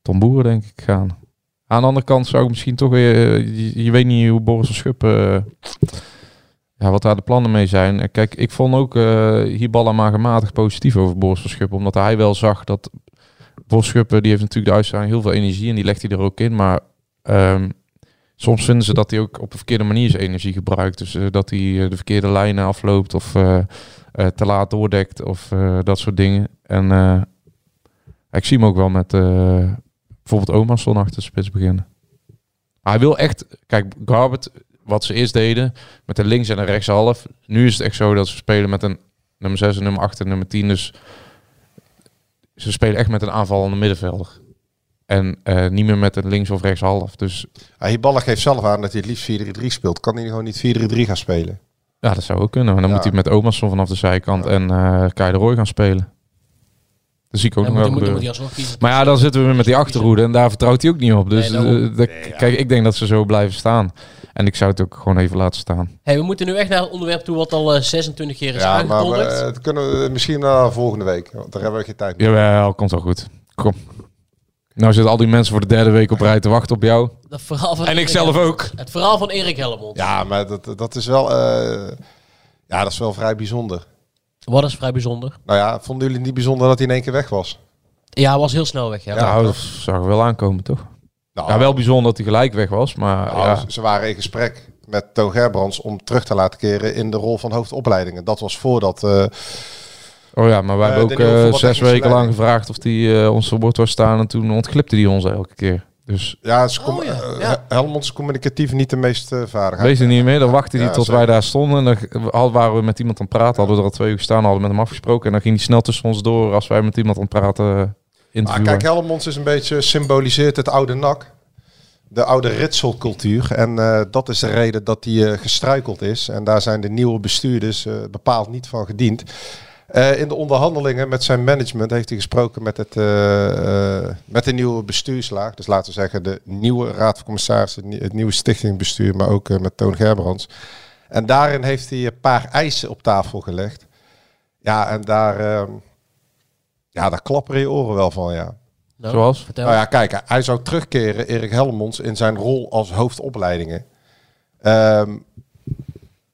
Speaker 9: Tom Boeren, denk ik, gaan. Aan de andere kant zou ik misschien toch weer... eh, je, je weet niet hoe Boris van Schuppen... eh, ja, wat daar de plannen mee zijn. Eh, Kijk, ik vond ook eh Hiballa maar gematigd positief over Boris van Schuppen. Omdat hij wel zag dat... Boris Schuppen, die heeft natuurlijk de uitstraling heel veel energie. En die legt hij er ook in. Maar ehm, soms vinden ze dat hij ook op de verkeerde manier zijn energie gebruikt. Dus eh, dat hij eh, de verkeerde lijnen afloopt of eh, eh, te laat doordekt of eh, dat soort dingen. En eh, ik zie hem ook wel met eh bijvoorbeeld Omarsson achter de spits beginnen. Hij wil echt, kijk, Garbert, wat ze eerst deden met de links en de rechts half. Nu is het echt zo dat ze spelen met een nummer 6, een nummer 8 en nummer 10. Dus ze spelen echt met een aanvallende middenvelder. En eh, niet meer met een links of rechts half. Dus
Speaker 8: Ja, Ah, Hiballa geeft zelf aan dat hij het liefst 4-3 speelt. Kan hij gewoon niet 4-3 gaan spelen?
Speaker 9: Ja, dat zou ook kunnen. Maar dan
Speaker 8: Ja.
Speaker 9: moet hij met Omerson vanaf de zijkant en eh Kai de Roy gaan spelen. Dat zie ik ook
Speaker 7: Dan
Speaker 9: nog
Speaker 7: moet
Speaker 9: wel
Speaker 7: hij- moet-
Speaker 9: gebeuren.
Speaker 7: dan moet hij alsnog kiezen.
Speaker 9: Maar ja, dan zitten we weer met die achterhoede en daar vertrouwt hij ook niet op. Dus
Speaker 7: Nee, daarom.
Speaker 9: eh, dat- kijk, ik denk dat ze zo blijven staan. En ik zou het ook gewoon even laten staan.
Speaker 7: Hey, we moeten nu echt naar het onderwerp toe wat al eh, 26 keer is
Speaker 8: Ja, maar
Speaker 7: aangekondigd.
Speaker 8: we, dat kunnen we misschien naar volgende week. Want daar hebben we geen tijd meer.
Speaker 9: Jawel, komt wel goed. Kom. Nou zitten al die mensen voor de derde week op rij te wachten op jou.
Speaker 7: Dat verhaal van
Speaker 9: En
Speaker 7: Erik
Speaker 9: ik zelf
Speaker 7: Helmond.
Speaker 9: ook.
Speaker 7: Het verhaal van Erik Helmond.
Speaker 8: Ja, maar dat, dat is wel... eh, ja, dat is wel vrij bijzonder.
Speaker 7: Wat is vrij bijzonder.
Speaker 8: Nou ja, vonden jullie het niet bijzonder dat hij in één keer weg was?
Speaker 7: Ja, hij was heel snel weg. Ja. Ah.
Speaker 9: nou, dat zag er wel aankomen, toch?
Speaker 8: Nou,
Speaker 9: ja, wel bijzonder dat hij gelijk weg was, maar
Speaker 8: nou,
Speaker 9: ja.
Speaker 8: ze- ze waren in gesprek met Toon Gerbrands om terug te laten keren in de rol van hoofdopleidingen. Dat was voordat... eh,
Speaker 9: Oh ja, maar wij
Speaker 8: Eh,
Speaker 9: hebben
Speaker 8: de
Speaker 9: ook
Speaker 8: nieuwe
Speaker 9: eh, zes
Speaker 8: voetbaltechnische
Speaker 9: weken lang
Speaker 8: leiding.
Speaker 9: gevraagd of die eh, ons te woord was staan. En toen ontglipte die ons elke keer. Dus
Speaker 8: Ja, ze com- eh, Helmond is communicatief niet de meest eh vaardig.
Speaker 9: Weet je niet meer, dan wachtte hij
Speaker 8: Ja,
Speaker 9: tot
Speaker 8: zeker.
Speaker 9: wij daar stonden. En dan g- had- waren we met iemand aan het praten, hadden we er al twee uur gestaan, hadden we met hem afgesproken. En dan ging hij snel tussen ons door als wij met iemand aan het praten eh,
Speaker 8: Maar
Speaker 9: interviewen.
Speaker 8: Ah, kijk, Helmonds is een beetje symboliseert het oude NAC. De oude ritselcultuur. En eh, dat is de reden dat die eh, gestruikeld is. En daar zijn de nieuwe bestuurders eh, bepaald niet van gediend. Eh, in de onderhandelingen met zijn management heeft hij gesproken met, het, eh, eh, met de nieuwe bestuurslaag. Dus laten we zeggen de nieuwe raad van commissarissen, het nie- het nieuwe stichtingbestuur, maar ook eh, met Toon Gerbrands. En daarin heeft hij een paar eisen op tafel gelegd. Ja, en daar, eh, ja, daar klapperen je oren wel van, ja.
Speaker 7: Nou, Zoals? vertel.
Speaker 8: Nou ja, kijk, hij zou terugkeren, Erik Helmonds, in zijn rol als hoofdopleidingen. Ehm,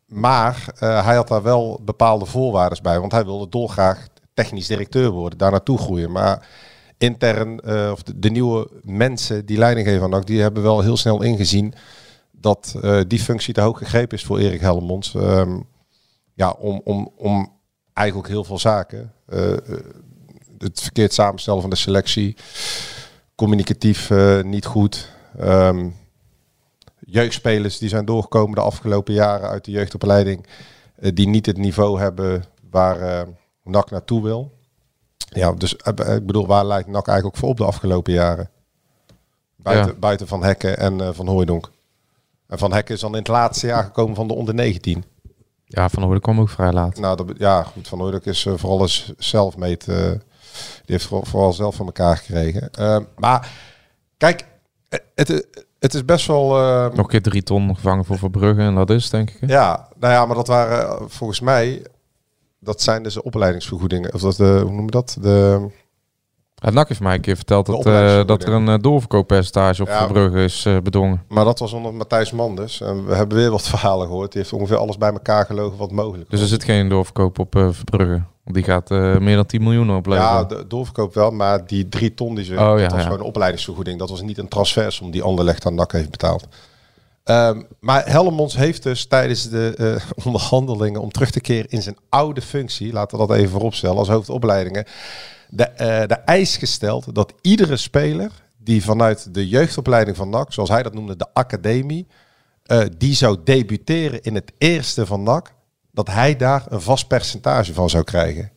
Speaker 8: maar eh, hij had daar wel bepaalde voorwaarden bij, want hij wilde dolgraag technisch directeur worden, daar naartoe groeien. Maar intern, eh, of de, de nieuwe mensen die leiding geven aan NAC, die hebben wel heel snel ingezien dat eh, die functie te hoog gegrepen is voor Erik Helmonds. Ehm, ja, om, om, om eigenlijk heel veel zaken. eh, eh, het verkeerd samenstellen van de selectie. Communicatief eh, niet goed. Ehm, jeugdspelers die zijn doorgekomen de afgelopen jaren uit de jeugdopleiding. eh, die niet het niveau hebben waar eh, NAC naartoe wil. Ja, dus eh, ik bedoel, waar lijkt NAC eigenlijk voor op de afgelopen jaren? Buiten,
Speaker 9: Ja.
Speaker 8: buiten Van Hekken en eh, Van Hooijdonk. En Van Hekken is dan in het laatste jaar gekomen van de onder 19.
Speaker 9: Ja, Van Hoorde kwam ook vrij laat.
Speaker 8: Nou, dat, be- ja, goed. Van Hooydonk is eh, vooral eens zelf mee te, eh, die heeft vooral, vooral zelf van elkaar gekregen. Eh, maar kijk, eh, het, eh, het is best wel... eh,
Speaker 9: Nog een keer drie ton gevangen voor Verbrugge en dat is het, denk ik. hè?
Speaker 8: ja, nou ja, maar dat waren eh, volgens mij... Dat zijn dus de opleidingsvergoedingen. Of dat, de, hoe noem je dat? De,
Speaker 9: Het NAC heeft mij een keer verteld
Speaker 8: De
Speaker 9: dat, eh,
Speaker 8: opleidingsvergoeding.
Speaker 9: dat er een eh, doorverkooppercentage op
Speaker 8: Ja.
Speaker 9: Verbrugge is eh, bedongen.
Speaker 8: maar dat was onder Matthijs Manders. En we hebben weer wat verhalen gehoord. Die heeft ongeveer alles bij elkaar gelogen wat mogelijk
Speaker 9: Dus er zit geen doorverkoop op eh, Verbrugge. Want die gaat eh, meer dan 10 miljoen opleveren.
Speaker 8: Ja, de doorverkoop wel, maar die drie ton die ze...
Speaker 9: Oh, ja,
Speaker 8: dat was
Speaker 9: ja.
Speaker 8: gewoon een opleidingsvergoeding. Dat was niet een transfersom die Anderlecht aan NAC heeft betaald. Ehm, maar Helmonds heeft dus tijdens de eh, onderhandelingen om terug te keren in zijn oude functie, laten we dat even vooropstellen, als hoofdopleidingen, de, eh, de eis gesteld dat iedere speler die vanuit de jeugdopleiding van NAC, zoals hij dat noemde, de academie, eh, die zou debuteren in het eerste van NAC, dat hij daar een vast percentage van zou krijgen.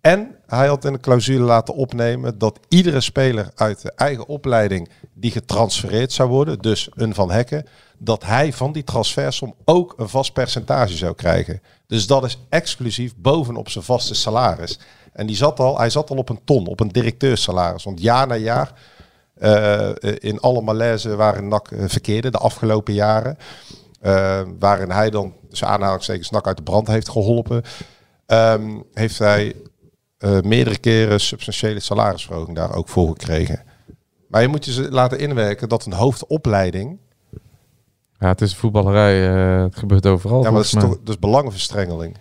Speaker 8: En hij had in de clausule laten opnemen dat iedere speler uit de eigen opleiding die getransfereerd zou worden, dus een Van Hekken, dat hij van die transfersom ook een vast percentage zou krijgen. Dus dat is exclusief bovenop zijn vaste salaris. En die zat al, hij zat al op een ton, op een directeurssalaris. Want jaar na jaar, eh, in alle malaise waarin NAC eh, verkeerde de afgelopen jaren, eh, waarin hij dan, dus aanhalingstekens, NAC uit de brand heeft geholpen, ehm, heeft hij eh, meerdere keren substantiële salarisverhoging daar ook voor gekregen. Maar je moet je ze laten inwerken dat een hoofdopleiding.
Speaker 9: Ja, het is voetballerij. eh, het gebeurt overal.
Speaker 8: ja, maar dat is,
Speaker 9: volgens mij.
Speaker 8: toch, dat is belangenverstrengeling.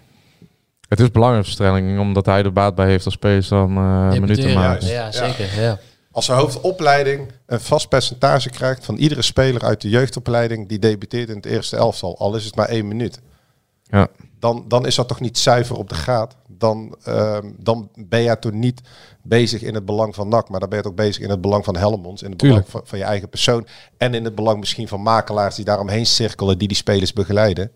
Speaker 9: Het is belangrijkverstrengeling, omdat hij er baat bij heeft als spelers dan eh minuten te maken.
Speaker 7: Ja, zeker. Ja.
Speaker 8: Als de hoofdopleiding een vast percentage krijgt van iedere speler uit de jeugdopleiding die debuteert in het eerste elftal, al is het maar één minuut,
Speaker 9: Ja.
Speaker 8: dan, dan is dat toch niet zuiver op de graad. Dan, ehm, dan ben je toch niet bezig in het belang van NAC, maar dan ben je toch bezig in het belang van Helmonds, in het
Speaker 9: Tuurlijk.
Speaker 8: belang van, van je eigen persoon en in het belang misschien van makelaars die daaromheen cirkelen, die die spelers begeleiden.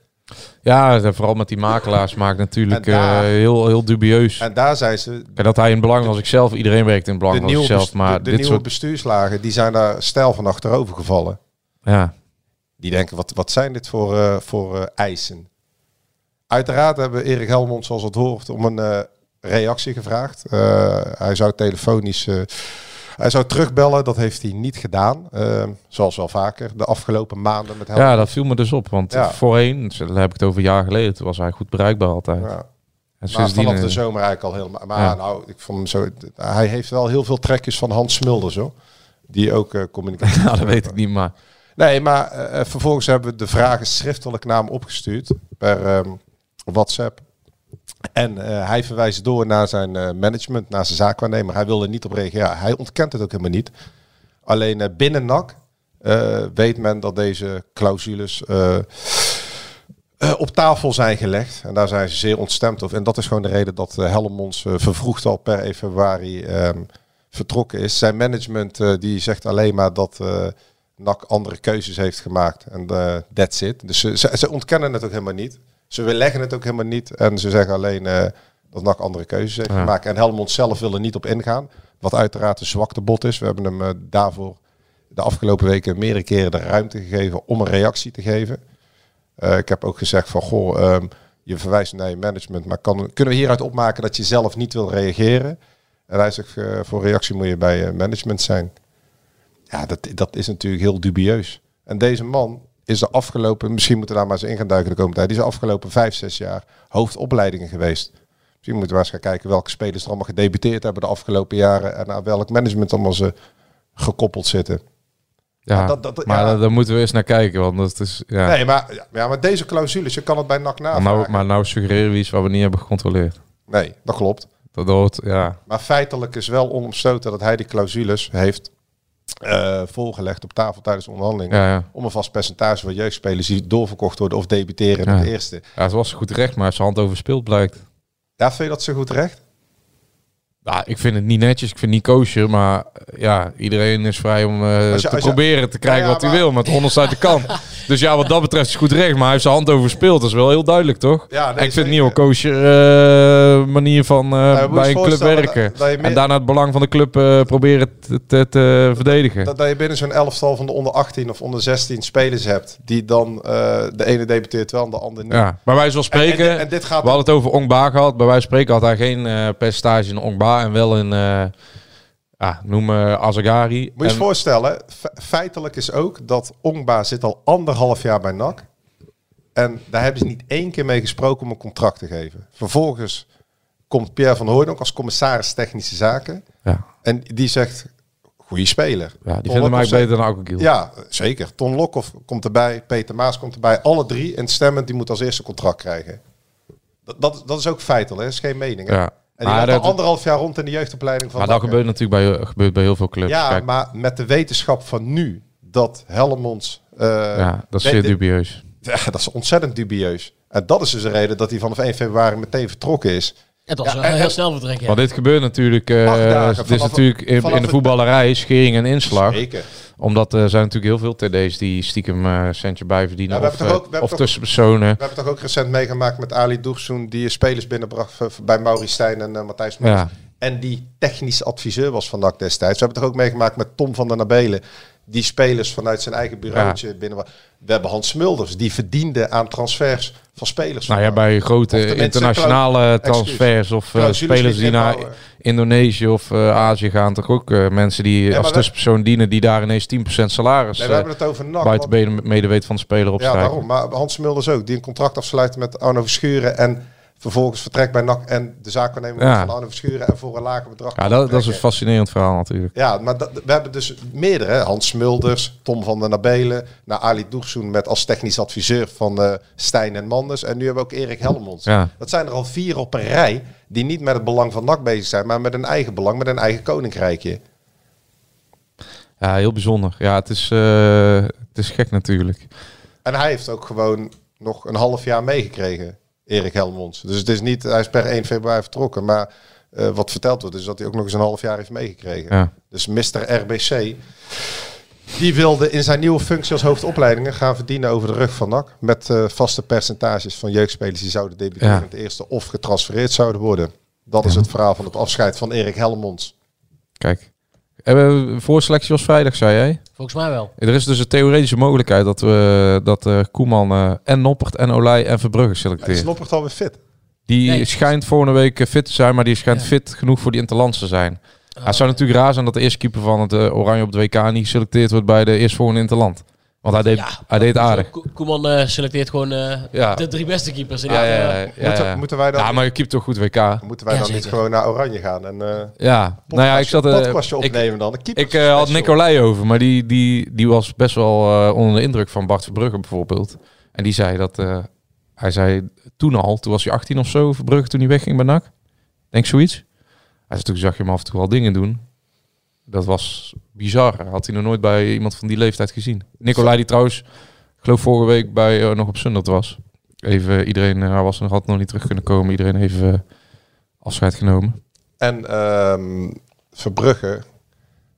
Speaker 9: Ja, en vooral met die makelaars maakt natuurlijk
Speaker 8: En daar-
Speaker 9: eh, heel, heel dubieus.
Speaker 8: En daar zijn ze
Speaker 9: Kijk, dat hij in belang als ikzelf, iedereen werkt in belang
Speaker 8: de
Speaker 9: als
Speaker 8: nieuwe,
Speaker 9: ikzelf,
Speaker 8: best-
Speaker 9: maar
Speaker 8: de, de
Speaker 9: dit
Speaker 8: nieuwe
Speaker 9: soort...
Speaker 8: bestuurslagen die zijn daar stijl van achterover gevallen.
Speaker 9: Ja.
Speaker 8: Die denken, wat, wat zijn dit voor, eh, voor eh, eisen? Uiteraard hebben Erik Helmond, zoals het hoort, om een eh, reactie gevraagd. Eh, hij zou telefonisch... eh, hij zou terugbellen, dat heeft hij niet gedaan. Eh, zoals wel vaker, de afgelopen maanden met Helmond.
Speaker 9: ja, dat viel me dus op, want
Speaker 8: Ja.
Speaker 9: voorheen, dus daar heb ik het over een jaar geleden, toen was hij goed bereikbaar altijd.
Speaker 8: Ja.
Speaker 9: En
Speaker 8: Maar
Speaker 9: sindsdien,
Speaker 8: vanaf de
Speaker 9: eh,
Speaker 8: zomer eigenlijk al helemaal. Maar
Speaker 9: Ja.
Speaker 8: nou, ik vond hem zo. Hij heeft wel heel veel trekjes van Hans Smulders, hoor. Die ook eh communicatie.
Speaker 9: Nou, dat weet ik niet, maar...
Speaker 8: Nee, maar eh, eh, vervolgens hebben we de vragen schriftelijk naar hem opgestuurd per ehm, WhatsApp. En eh, hij verwijst door naar zijn eh, management, naar zijn zaakwaarnemer. Hij wil er niet op reageren. Hij ontkent het ook helemaal niet. Alleen eh, binnen NAC eh, weet men dat deze clausules eh, eh, op tafel zijn gelegd. En daar zijn ze zeer ontstemd over. En dat is gewoon de reden dat eh, Helmonds eh, vervroegd al per 1 februari ehm, vertrokken is. Zijn management eh, die zegt alleen maar dat eh NAC andere keuzes heeft gemaakt. En eh, that's it. Dus ze, ze, ze ontkennen het ook helemaal niet. Ze weerleggen het ook helemaal niet. En ze zeggen alleen eh, dat NAC andere keuzes heeft
Speaker 9: Ja.
Speaker 8: gemaakt. En Helmond zelf wil er niet op ingaan. Wat uiteraard een zwakte bot is. We hebben hem eh, daarvoor de afgelopen weken meerdere keren de ruimte gegeven om een reactie te geven. Eh, ik heb ook gezegd van, goh, ehm, je verwijst naar je management, maar kan, kunnen we hieruit opmaken dat je zelf niet wil reageren? En hij zegt, eh, voor reactie moet je bij je management zijn. Ja, dat, dat is natuurlijk heel dubieus. En deze man is de afgelopen, misschien moeten we daar maar eens in gaan duiken de komende tijd, die is de afgelopen vijf, zes jaar hoofdopleidingen geweest. Misschien moeten we eens gaan kijken welke spelers er allemaal gedebuteerd hebben de afgelopen jaren en aan welk management allemaal ze gekoppeld zitten.
Speaker 9: Ja,
Speaker 8: Maar dat- dat-
Speaker 9: maar
Speaker 8: ja.
Speaker 9: daar- daar moeten we eens naar kijken, want dat is... Ja.
Speaker 8: Nee, maar, ja, maar deze clausules, je kan het bij NAC
Speaker 9: maar,
Speaker 8: navragen.
Speaker 9: nou, maar nou suggereren we iets wat we niet hebben gecontroleerd.
Speaker 8: Nee, dat klopt.
Speaker 9: Dat hoort, ja.
Speaker 8: Maar feitelijk is wel onomstoten dat hij die clausules heeft eh, voorgelegd op tafel tijdens de onderhandelingen.
Speaker 9: Ja, ja.
Speaker 8: Om een vast percentage van jeugdspelers die doorverkocht worden of debuteren in
Speaker 9: Ja.
Speaker 8: het eerste.
Speaker 9: Ja, het was goed recht, maar hij heeft zijn hand overspeeld blijkt.
Speaker 8: Ja, vind je dat zo goed recht?
Speaker 9: Ja, ik vind het niet netjes, ik vind het niet koosje, maar eh, ja, iedereen is vrij om eh,
Speaker 8: Als je-
Speaker 9: te
Speaker 8: als je-
Speaker 9: proberen te krijgen
Speaker 8: Ja, ja,
Speaker 9: wat hij
Speaker 8: maar-
Speaker 9: wil, maar het onderste uit de kant. Dus ja, wat dat betreft is het goed recht, maar hij heeft zijn hand overspeeld, dat is wel heel duidelijk, toch?
Speaker 8: Ja, nee,
Speaker 9: en ik vind
Speaker 8: zeker. Nou,
Speaker 9: het niet een koosje manier van eh,
Speaker 8: je moet
Speaker 9: bij
Speaker 8: je
Speaker 9: een club
Speaker 8: voorstellen
Speaker 9: werken.
Speaker 8: dat- dat je meer-
Speaker 9: En daarna het belang van de club eh, proberen te, te, te verdedigen.
Speaker 8: Dat, dat je binnen zo'n elftal van de onder 18 of onder 16 spelers hebt. Die dan eh, de ene debuteert wel en de ander niet.
Speaker 9: Ja, bij wijze van
Speaker 8: En- en
Speaker 9: spreken,
Speaker 8: dit- en dit gaat
Speaker 9: we hadden het over Ongba gehad. Bij wijze van spreken had hij geen eh, percentage in Ongba en wel in, eh, ja, noem eh Azagari.
Speaker 8: Moet je
Speaker 9: En-
Speaker 8: je voorstellen, fe- feitelijk is ook dat Ongba zit al anderhalf jaar bij NAC. En daar hebben ze niet één keer mee gesproken om een contract te geven. Vervolgens komt Pierre van Hooydonk als commissaris technische zaken.
Speaker 9: Ja.
Speaker 8: En die zegt, goede speler.
Speaker 9: Ja, die
Speaker 8: Ton
Speaker 9: vinden mij
Speaker 8: Lokhoff
Speaker 9: beter
Speaker 8: zegt-
Speaker 9: dan Aukenkiel.
Speaker 8: Ja, zeker. Ton Lokhoff komt erbij, Peter Maas komt erbij. Alle drie en stemmend, die moet als eerste contract krijgen. Dat, dat, dat is ook feitelijk, hè. dat is geen mening. Hè?
Speaker 9: Ja.
Speaker 8: En die
Speaker 9: Maar
Speaker 8: loopt
Speaker 9: dat-
Speaker 8: al anderhalf jaar rond in de jeugdopleiding van
Speaker 9: maar dat
Speaker 8: NAC, hè.
Speaker 9: gebeurt natuurlijk bij, gebeurt bij heel veel clubs.
Speaker 8: Ja,
Speaker 9: Kijk,
Speaker 8: maar met de wetenschap van nu dat Helmonds... eh,
Speaker 9: ja, dat is
Speaker 8: de-
Speaker 9: zeer
Speaker 8: de-
Speaker 9: dubieus.
Speaker 8: Ja, dat is ontzettend dubieus. En dat is dus de reden dat hij vanaf 1 februari meteen vertrokken is.
Speaker 7: Het was
Speaker 8: Ja,
Speaker 7: wel
Speaker 8: en-
Speaker 7: heel
Speaker 8: en-
Speaker 7: snel vertrekken.
Speaker 9: Want dit gebeurt natuurlijk, eh
Speaker 8: Acht dagen
Speaker 9: dit is
Speaker 8: vanaf-
Speaker 9: natuurlijk in,
Speaker 8: vanaf
Speaker 9: in de
Speaker 8: het-
Speaker 9: voetballerij schering en inslag.
Speaker 8: Zeker.
Speaker 9: Omdat eh, er zijn natuurlijk heel veel TD's die stiekem eh centje bijverdienen.
Speaker 8: Ja, we
Speaker 9: of
Speaker 8: hebben toch ook- we
Speaker 9: eh,
Speaker 8: hebben
Speaker 9: of
Speaker 8: toch-
Speaker 9: tussenpersonen.
Speaker 8: We hebben toch ook recent meegemaakt met Ali Doersoen... die spelers binnenbracht v- v- bij Mauri Stijn en eh, Matthijs Mons.
Speaker 9: Ja.
Speaker 8: En die technisch adviseur was van NAC destijds. We hebben toch ook meegemaakt met Tom van der Nabelen... die spelers vanuit zijn eigen bureautje binnenbracht. We hebben Hans Smulders, die verdiende aan transfers van spelers.
Speaker 9: Nou ja, bij
Speaker 8: Of
Speaker 9: grote
Speaker 8: tenminste,
Speaker 9: internationale
Speaker 8: clau-
Speaker 9: transfers of eh,
Speaker 8: Clausules
Speaker 9: spelers
Speaker 8: die
Speaker 9: die naar
Speaker 8: inbouwen.
Speaker 9: Indonesië of eh, Azië gaan, toch ook eh, mensen die
Speaker 8: maar
Speaker 9: als
Speaker 8: we-
Speaker 9: tussenpersoon dienen, die daar ineens 10% salaris
Speaker 8: Nee,
Speaker 9: eh
Speaker 8: we hebben het over NAC,
Speaker 9: buiten bene- medeweet van de speler
Speaker 8: Ja,
Speaker 9: opstrijken.
Speaker 8: daarom. Maar Hans Mulders ook. Die een contract afsluit met Arno Verschuren. En vervolgens vertrekt bij NAC. En de zaak nemen
Speaker 9: Ja.
Speaker 8: van Arno Verschuren. En voor een lager bedrag.
Speaker 9: Ja, dat, dat is een
Speaker 8: vertrekken.
Speaker 9: fascinerend verhaal natuurlijk.
Speaker 8: Ja, maar dat, we hebben dus meerdere. hè. Hans Mulders, Tom van der Nabelen. Naar Ali Doegsoen met als technisch adviseur van eh, Stijn en Manders. En nu hebben we ook Erik Helmonds.
Speaker 9: Ja.
Speaker 8: Dat zijn er al vier op een rij. Die niet met het belang van NAC bezig zijn. Maar met een eigen belang. Met een eigen koninkrijkje.
Speaker 9: Ja, heel bijzonder. Ja, het is, eh, het is gek natuurlijk.
Speaker 8: En hij heeft ook gewoon nog een half jaar meegekregen, Erik Helmonds. Dus het is niet, hij is per 1 februari vertrokken. Maar eh, wat verteld wordt, is dat hij ook nog eens een half jaar heeft meegekregen.
Speaker 9: Ja.
Speaker 8: Dus Mr. RBC, die wilde in zijn nieuwe functie als hoofdopleidingen gaan verdienen over de rug van NAC. Met eh, vaste percentages van jeugdspelers die zouden debuteren
Speaker 9: Ja.
Speaker 8: in het eerste of getransfereerd zouden worden. Dat is het verhaal van het afscheid van Erik Helmonds.
Speaker 9: Kijk. Hebben we voorselectie was vrijdag, zei jij?
Speaker 7: Volgens mij wel.
Speaker 9: Er is dus een theoretische mogelijkheid dat, we, dat eh, Koeman eh, en Noppert en Olij en Verbrugge
Speaker 8: Is
Speaker 9: selecteren.
Speaker 8: Noppert alweer fit?
Speaker 9: Die
Speaker 7: Nee.
Speaker 9: schijnt volgende week eh, fit te zijn, maar die schijnt
Speaker 7: Ja.
Speaker 9: fit genoeg voor die Interlands te zijn.
Speaker 8: Ah,
Speaker 9: Ja, het zou natuurlijk raar zijn dat de eerste keeper van het eh, Oranje op de WK niet geselecteerd wordt bij de eerstvolgende Interland. Want hij deed, hij deed aardig.
Speaker 7: Ko- Koeman eh, selecteert gewoon eh,
Speaker 9: Ja.
Speaker 7: de drie beste keepers. In
Speaker 9: Ja,
Speaker 7: de-
Speaker 9: ja, ja, ja,
Speaker 8: moeten,
Speaker 9: ja.
Speaker 8: moeten wij dan,
Speaker 9: Ja, maar je keept toch goed WK. Ja,
Speaker 8: moeten wij dan niet
Speaker 7: Jazeker.
Speaker 8: gewoon naar Oranje gaan? En, eh,
Speaker 9: nou ja, ik zat... eh,
Speaker 8: podcastje
Speaker 9: ik
Speaker 8: opnemen dan. Een
Speaker 9: ik eh, had
Speaker 8: keepersspecial.
Speaker 9: Nicolai over, maar die, die, die was best wel eh, onder de indruk van Bart Verbrugge bijvoorbeeld. En die zei dat... eh, hij zei toen al, toen was hij 18 of zo, Verbrugge, toen hij wegging bij NAC. Denk zoiets. Hij zei, toen zag je hem af en toe al dingen doen. Dat was bizar. Had hij nog nooit bij iemand van die leeftijd gezien. Nicolai die trouwens, ik geloof vorige week bij eh, nog op Sundert was. Even iedereen, eh, hij was nog had nog niet terug kunnen komen. Iedereen heeft eh, afscheid genomen.
Speaker 8: En ehm, Verbrugge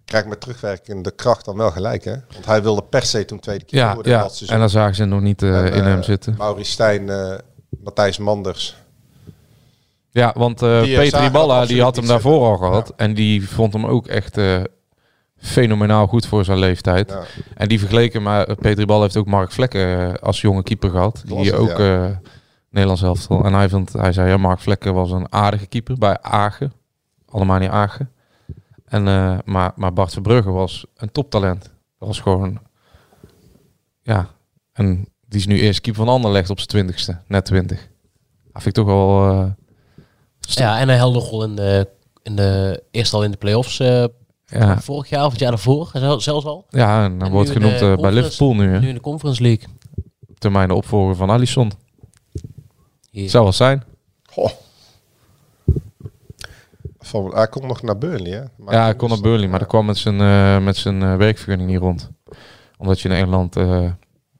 Speaker 8: krijgt met terugwerkende kracht dan wel gelijk, hè? Want hij wilde per se toen tweede keer
Speaker 9: Ja,
Speaker 8: worden
Speaker 9: ja.
Speaker 8: dat seizoen.
Speaker 9: en dan zagen ze hem nog niet eh,
Speaker 8: En,
Speaker 9: in
Speaker 8: eh,
Speaker 9: hem zitten.
Speaker 8: Maurice Stijn, eh, Matthijs Manders.
Speaker 9: Ja, want eh
Speaker 8: Die, eh,
Speaker 9: Peter
Speaker 8: zagen dat
Speaker 9: Iballa die
Speaker 8: absoluut
Speaker 9: had hem
Speaker 8: niet
Speaker 9: daarvoor al gehad. En die vond hem ook echt eh, fenomenaal goed voor zijn leeftijd.
Speaker 8: Ja.
Speaker 9: En die vergeleken, maar Peter Iballa heeft ook Mark Vlekken eh, als jonge keeper gehad.
Speaker 8: Dat was
Speaker 9: die
Speaker 8: het,
Speaker 9: ook eh Nederlands elftal. En hij, vond, hij zei, ja, Mark Vlekken was een aardige keeper bij Agen. Allemaal niet Agen. En, eh, maar, maar Bart Verbrugge was een toptalent. Was gewoon... Ja, en die is nu eerst keeper van Anderlecht op zijn twintigste. Net twintig. Dat vind ik toch wel... eh,
Speaker 7: Ja, en een helder rol in de, in de eerst al in de play-offs eh,
Speaker 9: Ja.
Speaker 7: vorig jaar of het jaar daarvoor, zel- zelfs al.
Speaker 9: Ja, en dan
Speaker 7: En
Speaker 9: wordt
Speaker 7: nu in
Speaker 9: genoemd
Speaker 7: de
Speaker 9: eh, bij
Speaker 7: conference-
Speaker 9: Liverpool nu. Hè?
Speaker 7: Nu in de Conference League.
Speaker 9: Op termijn de opvolger van Alisson.
Speaker 7: Hier.
Speaker 9: Zou wel zijn.
Speaker 8: Van, hij kon nog naar Burnley, hè? Maar
Speaker 9: ja, hij kon naar Burnley, maar dat kwam met zijn, eh, met zijn eh, werkvergunning niet rond. Omdat je in Engeland eh,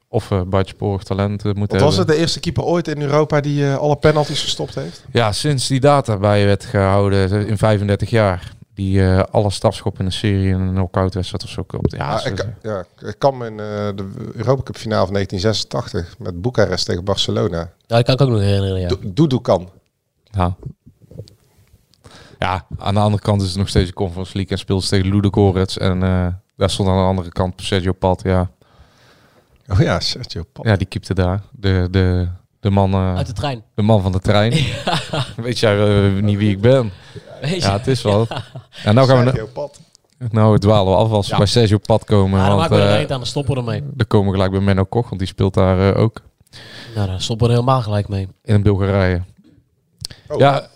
Speaker 9: of eh buitensporig talent eh, moet
Speaker 8: Wat
Speaker 9: hebben.
Speaker 8: was het de eerste keeper ooit in Europa die eh, alle penalties gestopt heeft?
Speaker 9: Ja, sinds die data bij werd gehouden eh, in 35 jaar. Die eh, alle stafschop in een serie en een knock-out wedstrijd of zo kopt. Ja,
Speaker 8: Ja,
Speaker 9: Ah, zo-
Speaker 8: Ah, ik, ja, ik kan me in eh, de Europa Cup finale van 1986 met Boekarest tegen Barcelona.
Speaker 7: Nou, dat kan ik ook nog herinneren, ja.
Speaker 8: Do- Doedoe kan.
Speaker 9: Ja. Ja, aan de andere kant is het nog steeds een Conference League en speelt ze tegen Ludo Gorets. En eh, daar stond aan de andere kant Sergio Pat, ja.
Speaker 8: Oh ja, Sergio Pat.
Speaker 9: Ja, die keepte daar. De, de, de man... eh,
Speaker 7: Uit de trein.
Speaker 9: De man van de trein. Weet jij eh, niet wie ik ben?
Speaker 7: Weet je?
Speaker 9: ja, het is wel. Ja, nou gaan we...
Speaker 8: Sergio Pat.
Speaker 9: Nou, dwalen we af als we
Speaker 7: Ja.
Speaker 9: bij Sergio Pat komen.
Speaker 7: Ah, dan
Speaker 9: want,
Speaker 7: maken we er
Speaker 9: eh,
Speaker 7: eind aan, dan stoppen we ermee.
Speaker 9: dan komen we gelijk bij Menno Koch, want die speelt daar eh, ook.
Speaker 7: Nou, daar stoppen we er helemaal gelijk mee.
Speaker 9: In Bulgarije. Ja,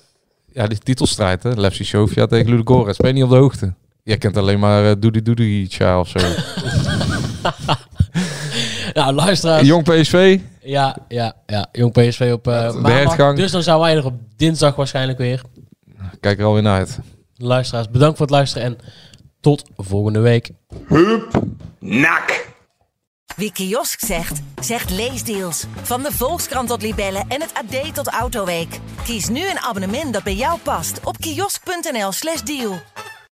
Speaker 9: ja, die titelstrijd, hè. Lefsi Sofia tegen Ludogorets. Ben je niet op de hoogte? Jij kent alleen maar eh Doody Doody Cha of zo.
Speaker 7: Nou, luisteraars.
Speaker 9: Jong PSV.
Speaker 7: Ja, ja, ja. Jong PSV op eh, maandag.
Speaker 9: hertgang.
Speaker 7: Dus dan zijn wij er op dinsdag waarschijnlijk weer.
Speaker 9: Kijk er alweer naar uit.
Speaker 7: Luisteraars, bedankt voor het luisteren en tot volgende week.
Speaker 1: Hup, nak. Wie kiosk zegt, zegt leesdeals. Van de Volkskrant tot Libellen en het AD tot Autoweek. Kies nu een abonnement dat bij jou past op kiosk.nl/slash deal.